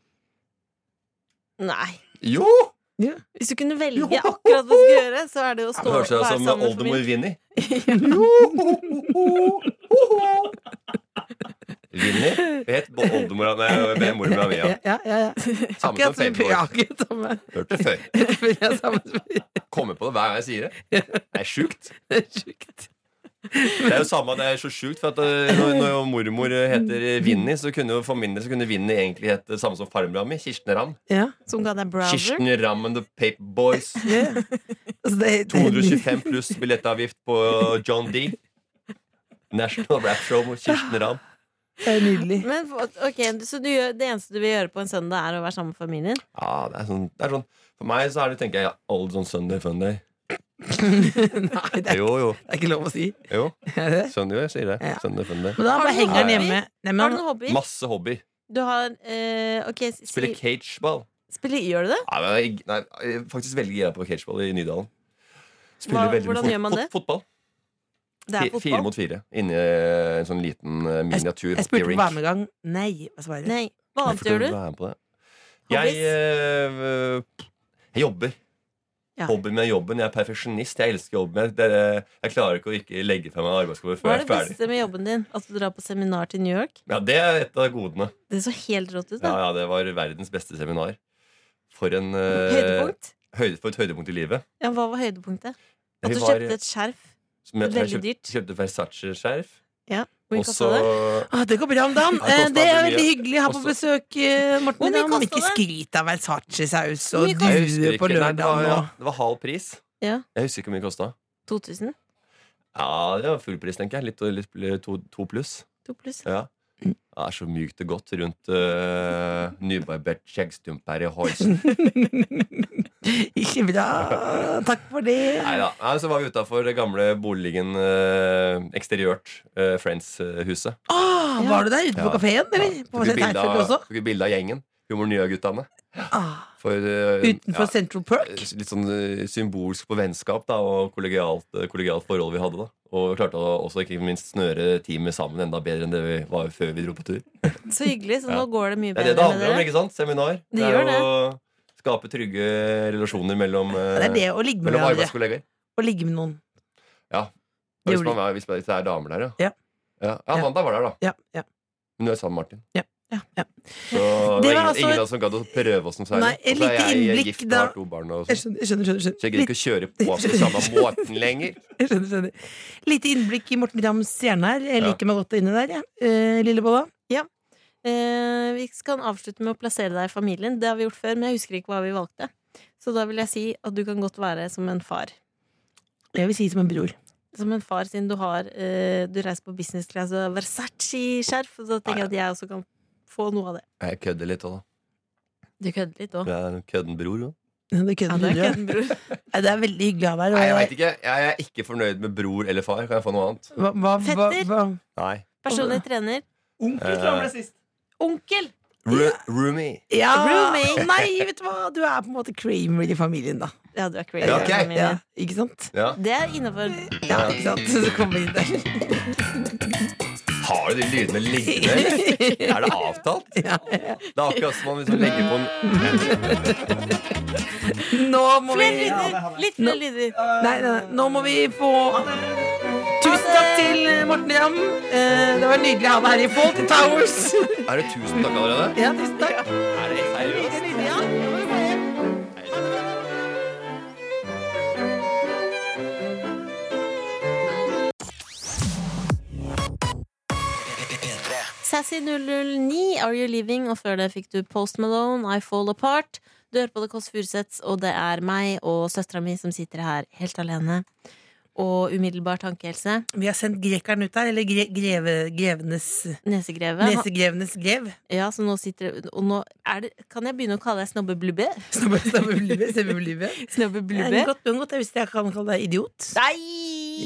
Speaker 3: Nei.
Speaker 7: Jo!
Speaker 3: Hvis du kunne velge akkurat hva du skulle gjøre, så er det jo å stå og
Speaker 7: Høres ut
Speaker 3: være
Speaker 7: som
Speaker 3: sammen med
Speaker 7: oldemor
Speaker 3: familien.
Speaker 7: Vinni. Vinni het bo- oldemora mi mormora mi.
Speaker 4: Ja,
Speaker 7: ja.
Speaker 4: ja, ja, ja.
Speaker 7: Samme som
Speaker 4: Akkurat som
Speaker 7: Fable.
Speaker 4: ja, akkurat samme.
Speaker 7: Hørt det før.
Speaker 4: Ja, samme som-
Speaker 7: Kommer på det hver gang jeg sier det. Det er sjukt.
Speaker 4: Det er sjukt.
Speaker 7: Det er jo samme, det er så sjukt. For at eh, når, når jo mormor eh, heter Vinni, så kunne jo for min del så kunne Vinni egentlig hete det samme som farmora mi. Kirsten Ramm.
Speaker 4: Ja.
Speaker 3: Som ga deg browser.
Speaker 7: Kirsten Ramm and the Paperboys.
Speaker 4: Altså, det, det,
Speaker 7: 225 pluss billettavgift på John D. National Rap Show med Kirsten Ramm.
Speaker 4: det er nydelig.
Speaker 3: Men ok, Så du, gjør- det eneste du vil gjøre på en søndag, er å være sammen med familien?
Speaker 7: Ja, det er sånn, det er sånn For meg så er det, tenker jeg, ja, old on Sunday sånn Funday.
Speaker 4: Nei, det er,
Speaker 7: Jo, jo.
Speaker 4: det er ikke lov å si.
Speaker 7: jo.
Speaker 4: Er det det?
Speaker 7: Skjønner jo, jeg sier det.
Speaker 4: Ja.
Speaker 7: Skjønner det, skjønner det.
Speaker 4: Men da
Speaker 3: Har
Speaker 4: bare
Speaker 3: du
Speaker 4: henger den
Speaker 3: noen
Speaker 4: hjemme. Nei,
Speaker 3: Har du
Speaker 4: men,
Speaker 3: noen hobbyer?
Speaker 7: Masse hobby.
Speaker 3: Du har eh, Ok, si,
Speaker 7: Spiller cageball.
Speaker 3: spiller, gjør du det?
Speaker 7: Nei, men jeg, nei, jeg er faktisk veldig gira på cageball i Nydalen. Spiller
Speaker 3: Hva-
Speaker 7: veldig mye
Speaker 3: hvordan
Speaker 7: fot-
Speaker 3: gjør man
Speaker 7: fot-
Speaker 3: det?
Speaker 7: Fotball.
Speaker 3: Det er
Speaker 7: Fi- Fire
Speaker 3: fotball?
Speaker 7: mot fire. Inni eh, en sånn liten eh, miniatur
Speaker 4: jeg spurte
Speaker 7: hockey
Speaker 4: på
Speaker 7: rink.
Speaker 4: varmegang. Nei, hva svarer du?
Speaker 3: Nei. Hva annet gjør du?
Speaker 7: Være med på det. Jeg,
Speaker 3: Hobbies?
Speaker 7: eh, jeg jobber.
Speaker 3: Ja.
Speaker 7: Hobbyen med jobben. Jeg er perfeksjonist. Jeg elsker jobben min. Det er- eh, Jeg klarer ikke å ikke legge fra meg arbeidsoppgaver før
Speaker 3: Hva
Speaker 7: jeg
Speaker 3: er
Speaker 7: er
Speaker 3: det
Speaker 7: ferdig.
Speaker 3: beste med jobben din? At du drar på seminar til New York?
Speaker 7: Ja, Det er et av godene.
Speaker 3: Det så helt rått ut,
Speaker 7: Ja,
Speaker 3: da.
Speaker 7: ja, Det var verdens beste seminar. For, en, eh,
Speaker 3: Høydepunkt?
Speaker 7: høyde, for et høydepunkt i livet.
Speaker 3: Ja, hva var høydepunktet? At
Speaker 7: Vi
Speaker 3: du
Speaker 7: var-
Speaker 3: kjøpte et skjerf?
Speaker 7: Som jeg, jeg
Speaker 3: Veldig
Speaker 7: kjøpte,
Speaker 3: dyrt.
Speaker 7: kjøpte Versace-skjerf.
Speaker 3: Hvor mye
Speaker 7: Og
Speaker 3: kosta
Speaker 7: så
Speaker 3: det?
Speaker 4: Ah, det går bra om dagen.
Speaker 7: Ja, det
Speaker 4: Eh,
Speaker 7: kostet
Speaker 4: Det er
Speaker 7: mye.
Speaker 4: veldig hyggelig å ha på
Speaker 7: Også-
Speaker 4: besøk, eh, Morten.
Speaker 3: Hvor mye
Speaker 4: Ja, Men
Speaker 3: kostet
Speaker 4: ikke
Speaker 3: det?
Speaker 4: skryt av Versace-saus
Speaker 3: Hvor
Speaker 4: og
Speaker 3: mye kostet
Speaker 7: Jeg husker
Speaker 4: due
Speaker 7: ikke.
Speaker 4: på
Speaker 7: Nei, det, var,
Speaker 4: lørdagen.
Speaker 7: ja,
Speaker 4: og-
Speaker 7: det var halv pris.
Speaker 3: Ja.
Speaker 7: Jeg husker ikke hvor mye det kosta.
Speaker 3: 2000?
Speaker 7: Ja, det var full pris, tenker jeg. Litt, litt, to, to pluss.
Speaker 3: To pluss?
Speaker 7: Ja. Det er så mykt og godt rundt uh, nybarbert skjeggstumper i halsen.
Speaker 4: Ikke bra. Takk for det.
Speaker 7: Nei da. Nei, så var vi utafor det gamle boligen eh, eksteriørt. eh, Friends-huset.
Speaker 4: Ah, var du der ute på
Speaker 7: Ja.
Speaker 4: kafeen, eller? På
Speaker 7: Tok vi bilde
Speaker 4: Seinfeld også?
Speaker 7: av- tok vi bilde av gjengen. Humor Nya-guttene.
Speaker 4: Ah,
Speaker 7: For, eh,
Speaker 4: utenfor
Speaker 7: ja,
Speaker 4: Central Perk?
Speaker 7: litt sånn eh, symbolsk på vennskap da, og kollegialt, eh, kollegialt forhold vi hadde. da Og klarte å også ikke minst snøre teamet sammen enda bedre enn det vi var før vi dro på tur.
Speaker 3: Så hyggelig. Så nå
Speaker 7: Ja.
Speaker 3: går det mye
Speaker 7: Det er
Speaker 3: bedre
Speaker 7: det det
Speaker 3: med
Speaker 7: handler om.
Speaker 3: dere.
Speaker 7: ikke sant? Seminar.
Speaker 3: Det
Speaker 7: er
Speaker 3: gjør
Speaker 7: å skape trygge relasjoner mellom, eh,
Speaker 4: Det er det å ligge med
Speaker 7: mellom
Speaker 4: hverandre.
Speaker 7: arbeidskollegaer.
Speaker 4: Å ligge med noen.
Speaker 7: Og Hvis,
Speaker 4: Gjorde
Speaker 7: man, er- hvis det er damer der,
Speaker 4: Ja.
Speaker 7: Ja, ja Amanda var der, da.
Speaker 4: Ja, ja.
Speaker 7: Men du er sammen med Martin.
Speaker 4: Ja, ja.
Speaker 7: Så det var ingen,
Speaker 4: altså-
Speaker 7: ingen av oss som gadd å prøve oss noe særlig.
Speaker 4: Nei, et
Speaker 7: Og så er
Speaker 4: lite
Speaker 7: jeg,
Speaker 4: innblikk
Speaker 7: gift og
Speaker 4: da-
Speaker 7: har to barn. Og
Speaker 4: Jeg
Speaker 7: sånn.
Speaker 4: skjønner, jeg skjønner. skjønner,
Speaker 7: så jeg
Speaker 4: skjønner.
Speaker 7: gidder ikke å kjøre på på samme måten lenger.
Speaker 4: Jeg skjønner, skjønner. Lite innblikk i Morten Dams hjerne her. Jeg
Speaker 7: Ja.
Speaker 4: liker meg godt inni der, jeg. Eh, Lillebolla.
Speaker 3: Eh, vi kan avslutte med å plassere deg i familien. Det har vi gjort før, men jeg husker ikke hva vi valgte. Så da vil jeg si at du kan godt være som en far.
Speaker 4: Jeg vil si som en bror.
Speaker 3: Som en far siden du har eh, Du reiser på business class og har Versace-skjerf. Så da tenker jeg at jeg også kan få noe av det.
Speaker 7: Jeg kødder litt òg, da.
Speaker 3: Du kødder litt òg.
Speaker 7: Jeg er en kødden bror òg.
Speaker 4: Ja, Det,
Speaker 3: Ja,
Speaker 4: kødder
Speaker 3: det
Speaker 4: du,
Speaker 3: er
Speaker 4: ja.
Speaker 3: kødden, bror.
Speaker 4: Nei, det er veldig hyggelig å ha deg
Speaker 7: Nei,
Speaker 4: her.
Speaker 7: jeg
Speaker 4: og-
Speaker 7: vet ikke. Jeg er ikke fornøyd med bror eller far. Kan jeg få noe annet?
Speaker 4: Hva, hva, hva,
Speaker 3: Fetter.
Speaker 4: hva?
Speaker 7: Nei.
Speaker 3: Personlig trener.
Speaker 6: Onkel
Speaker 7: Eh.
Speaker 6: klamrer sist.
Speaker 3: Onkel!
Speaker 7: Ru- Roomie.
Speaker 4: Ja!
Speaker 3: Roommate.
Speaker 4: Nei, vet du hva! Du er på en måte Kramer i familien, da.
Speaker 3: Ja, du er crazy.
Speaker 7: Ja, ok.
Speaker 3: familien.
Speaker 4: Ja, ikke sant?
Speaker 7: Ja.
Speaker 3: Det er innafor.
Speaker 4: Ja, ikke sant? Så kommer vi inn der.
Speaker 7: Har du de lydene liggende? Er det avtalt? Det er akkurat som man liksom legger på en
Speaker 4: Nå må vi
Speaker 3: Flere lyder! Litt flere lyder.
Speaker 4: Nei, nei, nei, nå må vi få Tusen takk til Morten Ramm. Eh, Det var nydelig å ha deg her i Fawlty Towers.
Speaker 7: Er det tusen takk allerede?
Speaker 4: Ja, tusen takk.
Speaker 7: Er det seriøst?
Speaker 3: Sassy009, Are You Living? Og før det fikk du Post Malone, I Fall Apart. Du hører på The Kåss Furuseths, og det er meg og søstera mi som sitter her helt alene. Og umiddelbar tankehelse.
Speaker 4: Vi har sendt grekeren ut her, eller gre greve, grevenes
Speaker 3: Nesegreve.
Speaker 4: Nesegrevenes grev.
Speaker 3: Ja, så nå sitter Og nå er det Kan jeg begynne å kalle deg snobbeblubbe?
Speaker 4: Snabbe- snabbe blubbe, snabbe blubbe. Ja,
Speaker 3: Snobbeblubbe?
Speaker 4: men Godt, men godt. Jeg visste jeg kan kalle deg idiot.
Speaker 3: Nei!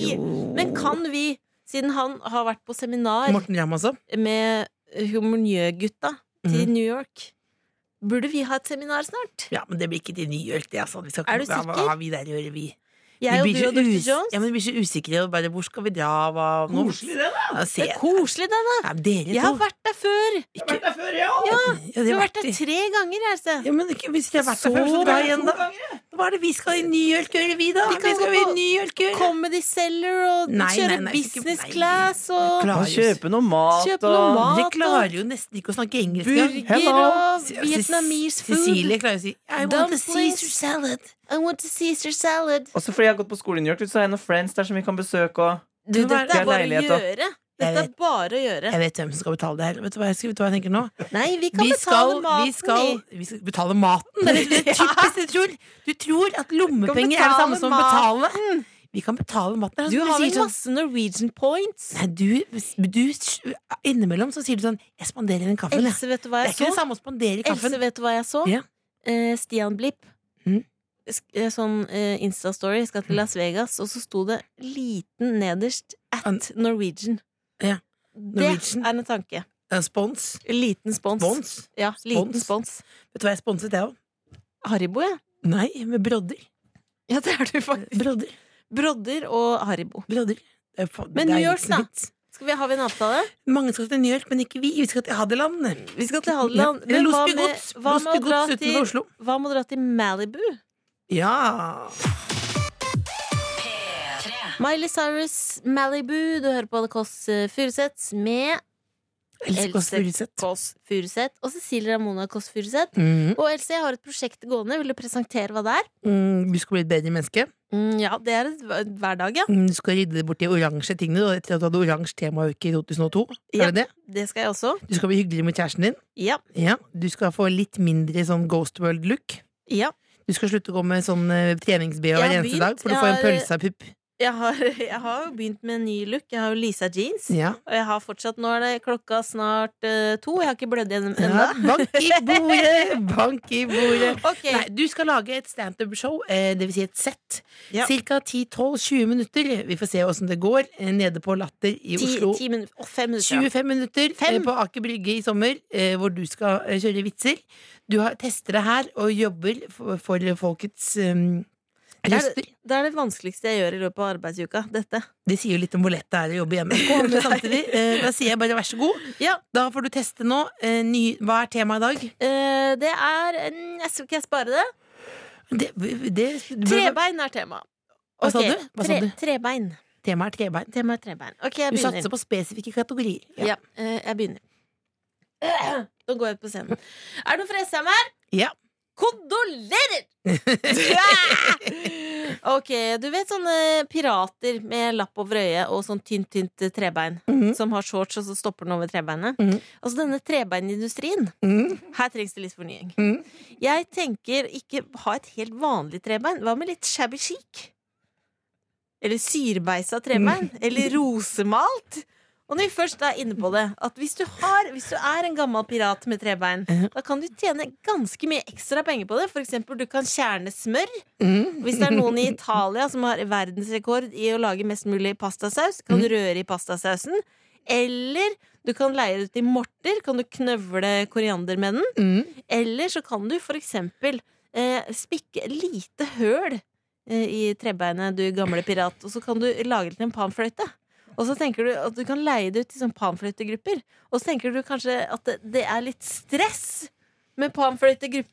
Speaker 4: Jo.
Speaker 3: Men kan vi, siden han har vært på seminar
Speaker 4: Morten Ramm også.
Speaker 3: med humornjøgutta
Speaker 4: Mm.
Speaker 3: til New York, burde vi ha et seminar snart?
Speaker 4: Ja, men det blir ikke til New York, det. Altså. Vi skal ikke
Speaker 3: Er du
Speaker 4: hva-
Speaker 3: sikker?
Speaker 4: Hva har vi der å gjøre, vi?
Speaker 3: Jeg og
Speaker 4: vi
Speaker 3: du
Speaker 4: så
Speaker 3: og Dr.
Speaker 4: us-
Speaker 3: Jones?
Speaker 4: Ja, men vi blir så usikre. Og bare, hvor skal vi dra? Hva? nå-
Speaker 6: Koselig, det, da.
Speaker 4: Ja, se.
Speaker 3: Det er koselig, det, da!
Speaker 4: Ja, men dere
Speaker 3: Jeg har
Speaker 4: to.
Speaker 3: vært der før!
Speaker 6: Jeg har vært der før, jeg òg.
Speaker 4: Ja,
Speaker 3: Du
Speaker 4: det
Speaker 3: har
Speaker 4: har
Speaker 3: vært der
Speaker 4: i-
Speaker 3: tre ganger, altså. Else.
Speaker 4: ja, men ikke- hvis dere har vært der
Speaker 6: Så
Speaker 4: før, så dra
Speaker 6: jeg
Speaker 4: igjen,
Speaker 6: to
Speaker 4: da.
Speaker 6: ganger, jeg.
Speaker 4: Hva er det vi skal i New York gjøre, vi, da?
Speaker 3: Vi
Speaker 4: Vi,
Speaker 3: kan
Speaker 4: skal
Speaker 3: gå
Speaker 4: i
Speaker 3: på-
Speaker 4: New York gjøre
Speaker 3: Comedy Seller og
Speaker 4: Nei, nei,
Speaker 3: kjøre
Speaker 4: nei, vi skal-
Speaker 3: business
Speaker 4: nei.
Speaker 3: class og
Speaker 4: Klar,
Speaker 6: Og Kjøpe noe mat
Speaker 3: Kjøpe noe
Speaker 6: og-
Speaker 3: mat
Speaker 4: Dere
Speaker 3: og
Speaker 4: klarer jo nesten ikke å snakke engelsk. engang.
Speaker 3: burger
Speaker 6: Hello.
Speaker 3: og
Speaker 4: Ce-
Speaker 3: vietnamese
Speaker 4: Ce-
Speaker 3: food.
Speaker 4: Cecilie klarer å si I want a
Speaker 3: Dumplings.
Speaker 4: Caesar salad.
Speaker 3: I want a Caesar salad.
Speaker 6: Og så fordi jeg har gått på skole i New York, så har jeg noen friends der som vi kan besøke. Og...
Speaker 3: Du,
Speaker 4: Det var-
Speaker 3: dette er
Speaker 6: Det er
Speaker 3: bare å
Speaker 6: leilighet, da.
Speaker 3: gjøre. Dette er
Speaker 4: vet.
Speaker 3: bare å gjøre.
Speaker 4: Jeg vet hvem som skal betale det her. Vet du hva jeg, vet du hva jeg tenker nå?
Speaker 3: Nei, vi kan
Speaker 4: Vi skal,
Speaker 3: betale maten,
Speaker 4: vi, skal, vi skal betale maten. Det er det typisk du tror. Du tror at lommepenger er det samme som å
Speaker 3: betale
Speaker 4: betale. Vi kan betale maten. Det er
Speaker 3: Du
Speaker 4: sånn
Speaker 3: har
Speaker 4: sier
Speaker 3: vel
Speaker 4: sånn-
Speaker 3: masse Norwegian points?
Speaker 4: Nei, du, du, innimellom så sier du sånn 'Jeg spanderer en kaffe', eller?
Speaker 3: Else, vet du hva
Speaker 4: Det er
Speaker 3: jeg
Speaker 4: ikke det
Speaker 3: så?
Speaker 4: samme å spandere kaffen.
Speaker 3: Else, vet du hva jeg så?
Speaker 4: Ja.
Speaker 3: Eh, Stian Blipp.
Speaker 4: Mm.
Speaker 3: sk- eh, sånn eh, Insta-story, skal til Las Vegas, og så sto det liten nederst
Speaker 4: An-
Speaker 3: at Norwegian.
Speaker 4: Ja. Norwegian.
Speaker 3: Det er en tanke.
Speaker 4: Eh, Spons.
Speaker 3: Liten spons.
Speaker 4: Spons.
Speaker 3: Ja, liten
Speaker 4: Spons.
Speaker 3: spons.
Speaker 4: Vet du hva jeg sponset, jeg òg?
Speaker 3: Haribo, ja.
Speaker 4: Nei, med brodder.
Speaker 3: Ja, det er du faktisk.
Speaker 4: Brodder.
Speaker 3: Brodder og Haribo.
Speaker 4: brodder. Det er fa-
Speaker 3: Men
Speaker 4: det er
Speaker 3: New
Speaker 4: ikke
Speaker 3: York,
Speaker 4: så
Speaker 3: da?
Speaker 4: vidt.
Speaker 3: Skal vi, har vi en avtale?
Speaker 4: Mange skal til New York, men ikke vi. Vi skal til Hadeland.
Speaker 3: Vi skal til Hadeland.
Speaker 4: Ja. Eller
Speaker 3: Men hva
Speaker 4: Losby
Speaker 3: med-
Speaker 4: Gods.
Speaker 3: hva med
Speaker 4: Losby
Speaker 3: å dra
Speaker 4: Gods utenfor
Speaker 3: til-
Speaker 4: Oslo.
Speaker 3: Hva med å dra til Malibu?
Speaker 4: Ja.
Speaker 3: Miley Cyrus, Malibu. Du hører på The Kåss eh, Furuseths med
Speaker 4: Else Kåss
Speaker 3: Else
Speaker 4: Furuseth.
Speaker 3: Kåss Furuseth og Cecilie Ramona Kåss Furuseth.
Speaker 4: Mm.
Speaker 3: Og Else, jeg har et prosjekt gående. Vil du presentere hva det er?
Speaker 4: Mm, du skal bli et bedre menneske.
Speaker 3: Mm, ja, det er et hver- hverdag, ja.
Speaker 4: Mm, Du skal rydde bort de oransje tingene du, etter at du hadde oransje temauke i 2002.
Speaker 3: Ja.
Speaker 4: Er det det?
Speaker 3: Det skal jeg også.
Speaker 4: Du skal bli hyggeligere med kjæresten din.
Speaker 3: Ja.
Speaker 4: Ja. Du skal få litt mindre sånn Ghost World-look.
Speaker 3: ja.
Speaker 4: Du skal slutte å gå med sånn eh, treningsbh hver
Speaker 3: Jeg har
Speaker 4: eneste dag,
Speaker 3: begynt.
Speaker 4: for du får en
Speaker 3: Jeg
Speaker 4: pølse av pupp.
Speaker 3: Jeg har, jeg har jo begynt med en ny look. Jeg har jo Lisa jeans.
Speaker 4: Ja.
Speaker 3: Og jeg har fortsatt, nå er det klokka snart eh, to. Jeg har ikke blødd gjennom
Speaker 4: ja.
Speaker 3: ennå.
Speaker 4: Bank i bordet! Bank i bordet!
Speaker 3: Ok,
Speaker 4: Nei, du skal lage et standup-show, eh, det vil si et sett.
Speaker 3: Ja.
Speaker 4: Cirka 10-12-20 minutter. Vi får se åssen det går. eh, Nede på Latter i
Speaker 3: ti,
Speaker 4: Oslo.
Speaker 3: ti minutter. Å, fem minutter. ja.
Speaker 4: 25 minutter
Speaker 3: Fem.
Speaker 4: eh, på Aker Brygge i sommer, eh, hvor du skal eh, kjøre vitser. Du har, tester det her og jobber for, for folkets eh,
Speaker 3: Det er,
Speaker 4: røster.
Speaker 3: det er det vanskeligste jeg gjør i løpet av arbeidsuka. Dette.
Speaker 4: Det sier jo litt om hvor lett det er å jobbe hjemme. Kom, men samtidig, eh, da sier jeg bare vær så god.
Speaker 3: Ja.
Speaker 4: Da får du teste nå. Eh, ny, hva er temaet i dag?
Speaker 3: Eh, det er mm, Jeg skal ikke jeg spare det.
Speaker 4: Det, det,
Speaker 3: Trebein er tema.
Speaker 4: Hva sa
Speaker 3: Ok,
Speaker 4: du? Hva sa
Speaker 3: tre,
Speaker 4: du?
Speaker 3: Trebein.
Speaker 4: Temaet er trebein.
Speaker 3: Tema er trebein. Ok, jeg
Speaker 4: Du
Speaker 3: begynner.
Speaker 4: satser på spesifikke kategorier.
Speaker 3: Ja, eh, jeg begynner. Nå går jeg ut på scenen. Er det noen fra Esheim her?
Speaker 4: Ja.
Speaker 3: Kondolerer! Ja! ok, du vet sånne pirater med lapp over øyet og sånn tynt, tynt trebein,
Speaker 4: Mhm.
Speaker 3: som har shorts, og så stopper den over trebeinet.
Speaker 4: Mhm.
Speaker 3: Altså denne trebeinindustrien,
Speaker 4: Mm.
Speaker 3: her trengs det litt fornying.
Speaker 4: Mhm.
Speaker 3: Jeg tenker ikke ha et helt vanlig trebein. Hva med litt shabby chic? Eller syrbeisa trebein?
Speaker 4: Mhm.
Speaker 3: Eller rosemalt? Og når vi først er inne på det, at hvis du, har, hvis du er en gammel pirat med trebein,
Speaker 4: Ja.
Speaker 3: da kan du tjene ganske mye ekstra penger på det. For eksempel, du kan kjerne smør.
Speaker 4: Mm.
Speaker 3: Hvis det er noen i Italia som har verdensrekord i å lage mest mulig pastasaus, kan du røre i pastasausen. Eller du kan leie det ut i morter. Kan du knøvle koriander med den?
Speaker 4: Mm.
Speaker 3: Eller så kan du for eksempel eh, spikke et lite høl eh, i trebeinet, du gamle pirat, og så kan du lage det til en panfløyte. Og så tenker du at du kan leie det ut til sånn panfløytegrupper. Og så tenker du kanskje at det, det er litt stress med panfløytegruppe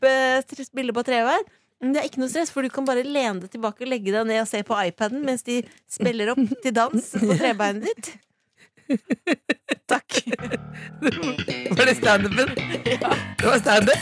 Speaker 3: tr- spille på trebein. Men det er ikke noe stress, for du kan bare lene deg tilbake og legge deg ned og se på iPaden mens de spiller opp til dans på trebeinet ditt. Takk.
Speaker 4: Var det standupen? Det var standup?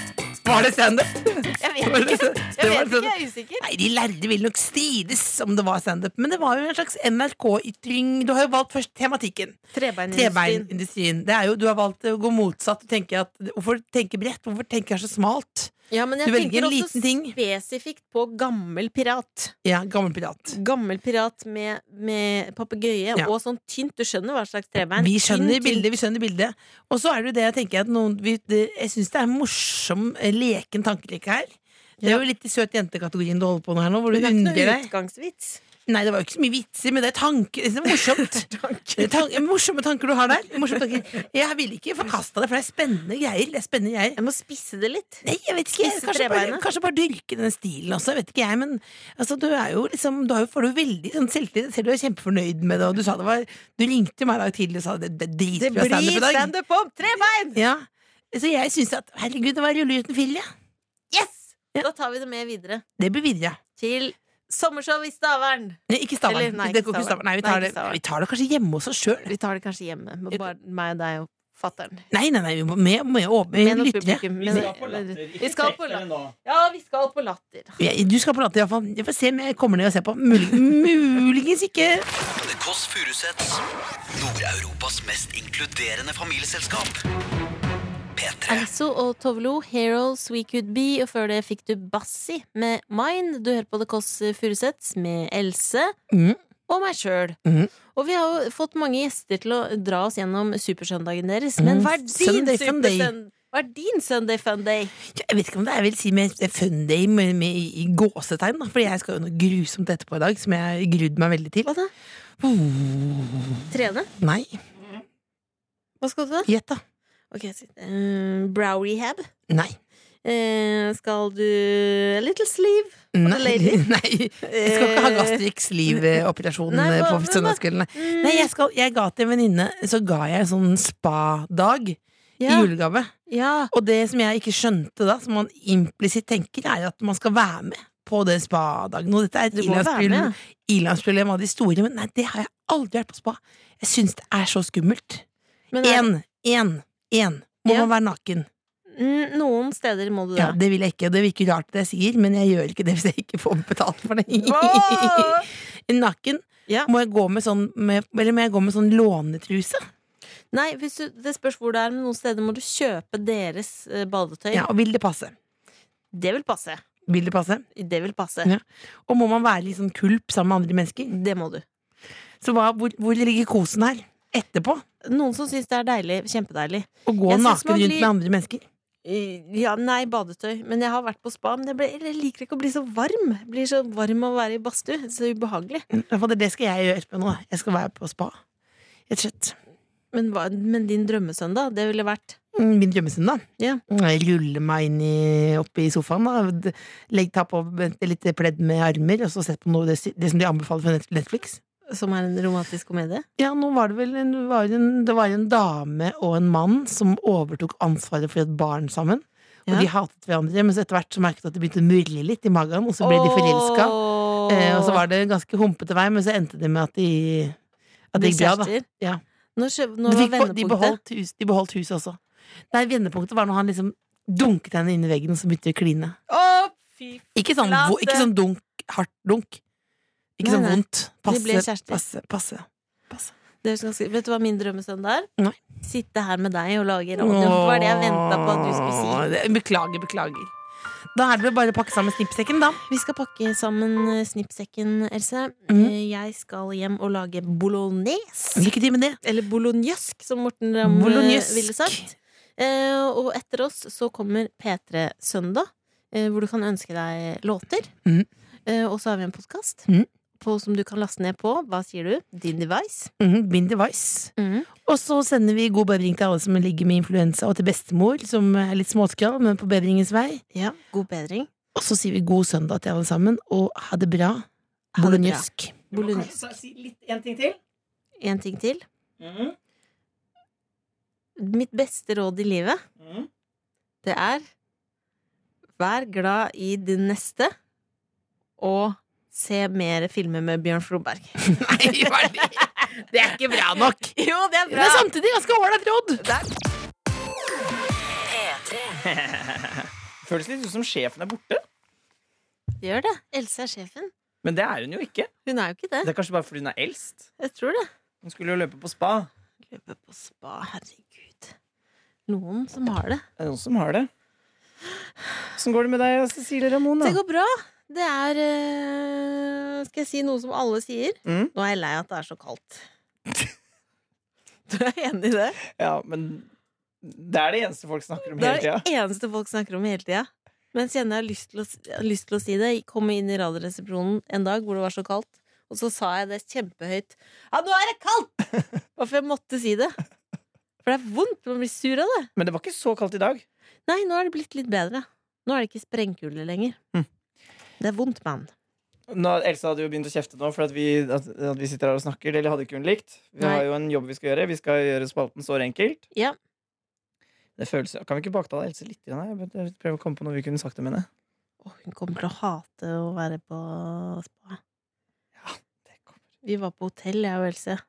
Speaker 4: Var det standup?
Speaker 3: Jeg
Speaker 4: Var
Speaker 3: vet
Speaker 4: det-
Speaker 3: ikke.
Speaker 4: det
Speaker 3: Jeg
Speaker 4: var
Speaker 3: vet ikke,
Speaker 4: sånn-
Speaker 3: jeg er usikker.
Speaker 4: Nei, de lærde ville nok strides om det var standup, men det var jo en slags NRK-ytring. Du har jo valgt først tematikken.
Speaker 3: Trebeinindustrien.
Speaker 4: Trebeinindustrien. Det er jo, du har valgt å gå motsatt og tenke at hvorfor tenke bredt? Hvorfor tenker jeg så smalt?
Speaker 3: Ja, men jeg
Speaker 4: Du velger
Speaker 3: tenker
Speaker 4: en
Speaker 3: også
Speaker 4: liten ting.
Speaker 3: spesifikt på gammel pirat.
Speaker 4: Ja, gammel pirat.
Speaker 3: Gammel pirat med, med papegøye
Speaker 4: Ja.
Speaker 3: og sånn tynt. Du skjønner hva slags trebein?
Speaker 4: Vi skjønner
Speaker 3: Tynn, tynn.
Speaker 4: bildet, vi skjønner bildet. Og så er det jo det jeg tenker at noen vi, det, Jeg syns det er en morsom, eh, leken tankeleke her. Det er jo litt i søt jente-kategorien du holder på med her nå, hvor du
Speaker 3: Men det er ikke
Speaker 4: undrer
Speaker 3: noe
Speaker 4: deg.
Speaker 3: utgangsvits.
Speaker 4: Nei, det var jo ikke så mye vitser, men det er tanker. Det er morsomt. Det er tan morsomme tanker du har der. Morsomme tanker. Jeg ville ikke forkasta det, for det er spennende greier. Det er spennende greier.
Speaker 3: Jeg må spisse det litt.
Speaker 4: Nei, jeg vet ikke.
Speaker 3: Spisse
Speaker 4: Kanskje bare,
Speaker 3: trebeinet.
Speaker 4: kanskje bare dyrke denne stilen også. Vet ikke jeg, men altså, du er jo liksom Du har jo, får jo veldig sånn selvtillit. Jeg ser du er kjempefornøyd med det, og du sa det var Du ringte meg i dag tidlig og sa det, det er
Speaker 3: Det
Speaker 4: dritbra
Speaker 3: blir
Speaker 4: standup i dag.
Speaker 3: standup om trebein!
Speaker 4: Ja. Så jeg syns at herregud, det var rulleluten fille.
Speaker 3: Yes! Da tar vi det med videre
Speaker 4: Det blir videre.
Speaker 3: til sommershow i Stavern.
Speaker 4: Nei, ikke Stavern.
Speaker 3: Eller, nei,
Speaker 4: Det
Speaker 3: ikke
Speaker 4: går ikke
Speaker 3: Stavern.
Speaker 4: Stavern. Nei, vi
Speaker 3: Nei,
Speaker 4: tar,
Speaker 3: ikke
Speaker 4: det,
Speaker 3: Stavern.
Speaker 4: vi tar det kanskje hjemme hos oss sjøl.
Speaker 3: Vi tar det kanskje hjemme med bare meg og deg og fatter'n.
Speaker 4: Nei, nei, nei, vi må med, med, med,
Speaker 3: Med noe
Speaker 4: lyttere.
Speaker 3: publikum.
Speaker 6: Vi skal på
Speaker 3: Med-
Speaker 6: latter.
Speaker 3: Vi
Speaker 6: Ikke
Speaker 3: skal på
Speaker 6: trekk dere
Speaker 3: latter.
Speaker 6: nå.
Speaker 3: Ja, vi skal på latter.
Speaker 4: Ja, Du skal på latter, iallfall. Jeg får se om jeg kommer ned og ser på. Mulig, muligens ikke.
Speaker 1: The Kåss Furuseths. Nord-Europas mest inkluderende familieselskap. P3.
Speaker 3: Aliso og Tovlo, Heroes We Could Be, og før det fikk du Bassi med Mine. Du hører på The Kåss Furuseths med Else
Speaker 4: Mhm.
Speaker 3: og meg sjøl.
Speaker 4: Mhm.
Speaker 3: Og vi har jo fått mange gjester til å dra oss gjennom supersøndagen deres, men
Speaker 4: Mhm.
Speaker 3: hva er din
Speaker 4: Sunday, Sunday.
Speaker 3: supersøndag? Hva er din Sunday Funday?
Speaker 4: Jeg vet ikke om det er jeg vil si med fun day med, med, i gåsetegn, da, Fordi jeg skal jo noe grusomt etterpå i dag, som jeg grudde meg veldig til.
Speaker 3: Hva da? Trene?
Speaker 4: Nei,
Speaker 3: Hva skal du da?
Speaker 4: gjett, da.
Speaker 3: Ok, jeg sier, eh, Brow rehab.
Speaker 4: Nei.
Speaker 3: Eh, skal du A little sleeve?
Speaker 4: Nei,
Speaker 3: lady?
Speaker 4: nei, jeg skal ikke ha
Speaker 3: Eh,
Speaker 4: gastriks liv-operasjon
Speaker 3: Nei, hva-
Speaker 4: på
Speaker 3: men hva-
Speaker 4: søndagskvelden. Nei,
Speaker 3: Mm,
Speaker 4: Nei, jeg, skal, jeg ga til en venninne Så ga jeg en sånn spa-dag i
Speaker 3: ja,
Speaker 4: julegave.
Speaker 3: ja.
Speaker 4: Og det som jeg ikke skjønte da, som man implisitt tenker, er at man skal være med på den spadagen. Og dette er et
Speaker 3: Du må være med, ja.
Speaker 4: ilandsproblem- ilandsproblem av de store, men nei, det har jeg aldri vært på spa. Jeg syns det er så skummelt.
Speaker 3: Men er-
Speaker 4: Én, én, én. Må
Speaker 3: Ja.
Speaker 4: man være naken?
Speaker 3: Mm, noen steder må du
Speaker 4: Ja,
Speaker 3: det.
Speaker 4: det vil jeg ikke, og det virker rart det jeg sier, men jeg gjør ikke det hvis jeg ikke får betalt for det.
Speaker 3: Åh!
Speaker 4: Naken?
Speaker 3: Ja.
Speaker 4: Må jeg gå med sånn med, Eller må jeg gå med sånn lånetruse?
Speaker 3: Nei, hvis du, det spørs hvor det er, men noen steder må du kjøpe deres eh, badetøy.
Speaker 4: Ja, og vil det passe?
Speaker 3: Det vil passe.
Speaker 4: Vil det passe?
Speaker 3: Det vil passe.
Speaker 4: Ja. Og må man være litt sånn kulp sammen med andre mennesker?
Speaker 3: Det må du.
Speaker 4: Så hva, hvor, hvor ligger kosen her? Etterpå?
Speaker 3: Noen som syns det er deilig. Kjempedeilig.
Speaker 4: Å gå
Speaker 3: Jeg synes
Speaker 4: naken
Speaker 3: man
Speaker 4: rundt
Speaker 3: blir-
Speaker 4: med andre mennesker?
Speaker 3: Eh, Ja, nei, badetøy. Men jeg har vært på spa. Men jeg, ble, jeg liker ikke å bli så varm. Jeg Blir så varm av å være i badstue. Så ubehagelig.
Speaker 4: Fader, det skal jeg gjøre etterpå nå. da. Jeg skal være på spa. Rett og slett.
Speaker 3: Men, hva, men din drømmesøndag, det ville vært
Speaker 4: Mm, Min drømmesøndag.
Speaker 3: Ja.
Speaker 4: Jeg ruller meg inn i, opp i sofaen, da. Legg, ta på et lite pledd med armer, og så sett på noe, det, det som de anbefaler fra Net- Netflix.
Speaker 3: Som er en romantisk komedie?
Speaker 4: Ja, nå var det vel en, var det en, det var en dame og en mann som overtok ansvaret for et barn sammen. Og
Speaker 3: Ja.
Speaker 4: de hatet hverandre, men så etter hvert så merket de at det begynte å murre litt i magen, og så ble de forelska. Eh, og så var det en ganske humpete vei, men så endte det med at de At det gikk bra, da. Ja.
Speaker 3: Nå, skjø- nå
Speaker 4: De,
Speaker 3: var
Speaker 4: fikk, på- de,
Speaker 3: vendepunktet.
Speaker 4: beholdt hus, de beholdt huset også. Nei, vendepunktet var når han liksom dunket henne inn i veggen, og så begynte de å kline.
Speaker 3: Å, fy
Speaker 4: Ikke sånn,
Speaker 3: Flate.
Speaker 4: vo- ikke sånn dunk, hardt dunk. Ikke
Speaker 3: Nei,
Speaker 4: sånn
Speaker 3: nei.
Speaker 4: vondt.
Speaker 3: ble
Speaker 4: Passe,
Speaker 3: kjærester.
Speaker 4: passe, passe.
Speaker 3: Det er ganske, vet du hva min drømmesøndag er?
Speaker 4: Nei.
Speaker 3: Sitte her med deg og lage radio. Det var det jeg venta på at du skulle si.
Speaker 4: Åh, det- Beklager, beklager. Da er det vel bare å pakke sammen snippsekken, da.
Speaker 3: Vi skal pakke sammen eh, snippsekken, Else.
Speaker 4: Mhm.
Speaker 3: Eh, Jeg skal hjem og lage bolognese.
Speaker 4: Lykke til med det.
Speaker 3: Eller bolognesk, som Morten Ramm eh,
Speaker 4: Bolognesk.
Speaker 3: ville sagt. Eh, og etter oss så kommer P3 Søndag, eh, hvor du kan ønske deg låter.
Speaker 4: Mhm.
Speaker 3: Eh, og så har vi en podkast
Speaker 4: Mhm.
Speaker 3: som du kan laste ned på. Hva sier du? Din device.
Speaker 4: Mhm, Min device.
Speaker 3: Mhm.
Speaker 4: Og så sender vi god bedring til alle som ligger med influensa, og til bestemor, som er litt småskral, men på bedringens vei.
Speaker 3: Ja, God bedring.
Speaker 4: Og så sier vi god søndag til alle sammen, og ha det bra.
Speaker 3: det bra.
Speaker 4: Bolognesk.
Speaker 6: Du må
Speaker 3: Bolognesk.
Speaker 6: kanskje si litt en ting til?
Speaker 3: En ting til.
Speaker 4: Mm.
Speaker 6: Mhm,
Speaker 3: Mitt beste råd i livet,
Speaker 6: mhm.
Speaker 4: Mm.
Speaker 3: det er Vær glad i din neste, og se mer filmer med Bjørn Floberg.
Speaker 4: Nei, hva er det? Det er ikke bra nok.
Speaker 3: Jo, det er
Speaker 4: Men samtidig ganske ålreit råd.
Speaker 6: Føles litt ut som sjefen er borte.
Speaker 3: Gjør det. Else er sjefen.
Speaker 6: Men det er hun jo ikke.
Speaker 3: Hun er jo ikke det.
Speaker 6: Det er kanskje bare fordi hun er eldst.
Speaker 3: Jeg tror det.
Speaker 6: Hun skulle jo løpe på spa.
Speaker 3: Løpe på spa, herregud. Noen som har det.
Speaker 6: Det er noen som har det. Åssen går det med deg, Cecilie Ramona?
Speaker 3: Det går bra. Det er eh, Skal jeg si noe som alle sier?
Speaker 6: Mm.
Speaker 3: Nå er jeg lei at det er så kaldt. Du er enig i det?
Speaker 6: Ja, men det er det eneste folk snakker om
Speaker 3: Det
Speaker 6: hele
Speaker 3: er
Speaker 6: tida.
Speaker 3: det eneste folk snakker om hele tida. Men kjenner jeg har lyst til å, s- jeg har lyst til å si det. Jeg kom inn i Radioresepsjonen en dag hvor det var så kaldt, og så sa jeg det kjempehøyt. Ja, nå er det kaldt! Hvorfor jeg måtte si det. For det er vondt. Man blir sur av det.
Speaker 6: Men det var ikke så kaldt i dag.
Speaker 3: Nei, nå er det blitt litt bedre. Nå er det ikke sprengkulde lenger.
Speaker 6: Mm.
Speaker 3: Det er vondt, mann.
Speaker 6: Nå, Elsa hadde jo begynt å kjefte nå for at vi, at, at vi sitter her og snakker. Det hadde ikke hun likt. Vi
Speaker 3: Nei.
Speaker 6: har jo en jobb vi skal gjøre. Vi skal gjøre spalten såre enkelt.
Speaker 3: Ja.
Speaker 6: Det føles, kan vi ikke baktale Else litt? grann her? Jeg bør- jeg prøver å komme på noe vi kunne sagt om henne.
Speaker 3: Å, hun kommer til å hate å være på spa.
Speaker 6: Det kommer.
Speaker 3: Vi var på hotell, jeg og Else.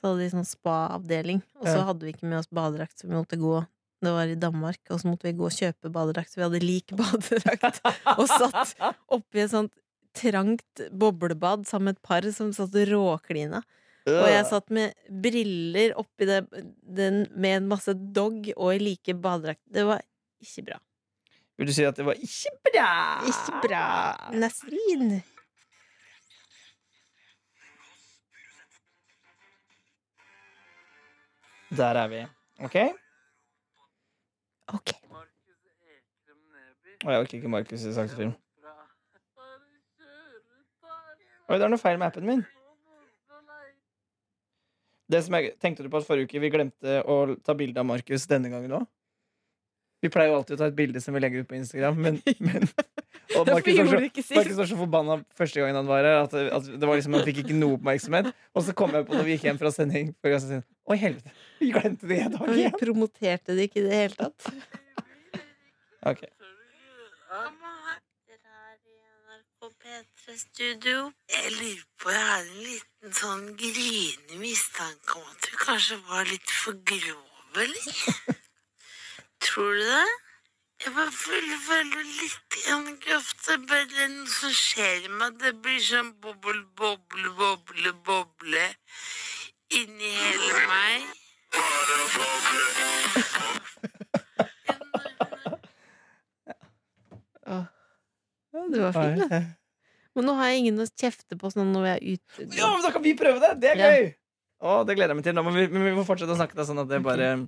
Speaker 3: Så hadde de sånn spa-avdeling. Og så
Speaker 6: Ja.
Speaker 3: hadde vi ikke med oss badedrakt, så vi måtte gå. Det var i Danmark, og så måtte vi gå og kjøpe badedrakt. Så vi hadde lik badedrakt. Og satt oppi et sånt trangt boblebad sammen med et par som satt og råklina. Og jeg satt med briller oppi det, den med en masse dog og i like badedrakt. Det var ikke bra.
Speaker 6: Vil du si at det var ikke bra?
Speaker 3: Ikke bra. Nasrin.
Speaker 6: Der er vi. Ok?
Speaker 3: Ok.
Speaker 6: Å, jeg orker ikke Markus i sakte film. Oi, det er noe feil med appen min. Det som jeg, tenkte du på at forrige uke vi glemte å ta bilde av Markus denne gangen òg? Vi pleier jo alltid å ta et bilde som vi legger ut på Instagram, men, men Og Markus var, så- Markus var så forbanna første gangen han var her at, at det var liksom, han fikk ikke noe oppmerksomhet. Og så kom jeg på når vi gikk hjem fra sending forrige gang, så sier han, Å, helvete, vi glemte det i dag
Speaker 3: Vi
Speaker 6: igjen.
Speaker 3: promoterte det ikke i det hele tatt.
Speaker 6: Ok.
Speaker 8: Jeg lurer på, jeg har en liten sånn gryende mistanke om at du kanskje var litt for grov, eller? Tror du det? Jeg bare føler, føler litt grann kraft. Det er bare noe som skjer med meg. Det blir sånn boble, boble, boble, boble inni hele meg.
Speaker 3: Ja, det var fint, da. Men nå har jeg ingen å kjefte på sånn når jeg er ute.
Speaker 6: Ja, men da kan vi prøve det! Det er
Speaker 3: Ja.
Speaker 6: gøy! Å, det gleder jeg meg til. Nå må vi, men vi må fortsette å snakke da, sånn at det bare Er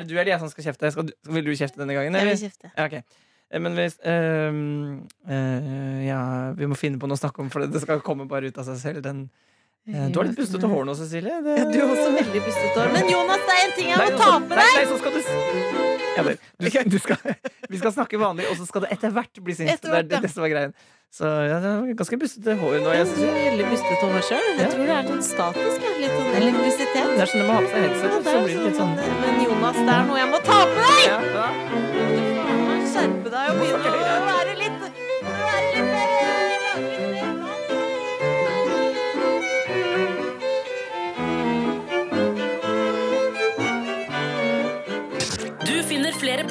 Speaker 6: det du eller jeg som skal kjefte? Skal du, skal- vil du kjefte denne gangen?
Speaker 3: Jeg
Speaker 6: eller?
Speaker 3: vil kjefte.
Speaker 6: Ja, ok. Eh, Men hvis ehm, eh, Ja, vi må finne på noe å snakke om, for det- det skal komme bare ut av seg selv. Den, eh, du har litt bustete hår nå, Cecilie. Det,
Speaker 3: Du har også veldig bustete hår. Men Jonas, det er en ting jeg
Speaker 6: Nei,
Speaker 3: må
Speaker 6: nå
Speaker 3: ta
Speaker 6: skal-
Speaker 3: med
Speaker 6: nei,
Speaker 3: deg!
Speaker 6: Nei, så skal du, s- ja, men, du, skal- du skal, vi skal snakke vanlig, og så skal det etter hvert bli sint.
Speaker 3: Etter
Speaker 6: Det er
Speaker 3: hvert,
Speaker 6: det, det som er greien. Så ja, det er ganske bustete hår nå. Jeg,
Speaker 3: Du
Speaker 6: synes-
Speaker 3: har veldig bustete hår sjøl.
Speaker 6: Ja.
Speaker 3: Jeg tror det er sånn statisk. ja. Litt sånn
Speaker 6: det
Speaker 3: elektrisitet.
Speaker 6: er sånn når man har på seg headset,
Speaker 3: Ja, det er
Speaker 6: så blir det litt sånn
Speaker 3: Men Jonas, det er noe jeg må ta med deg!
Speaker 6: ja, ja.
Speaker 3: Skjerpe deg og begynne å være litt være litt mer-
Speaker 5: Du finner flere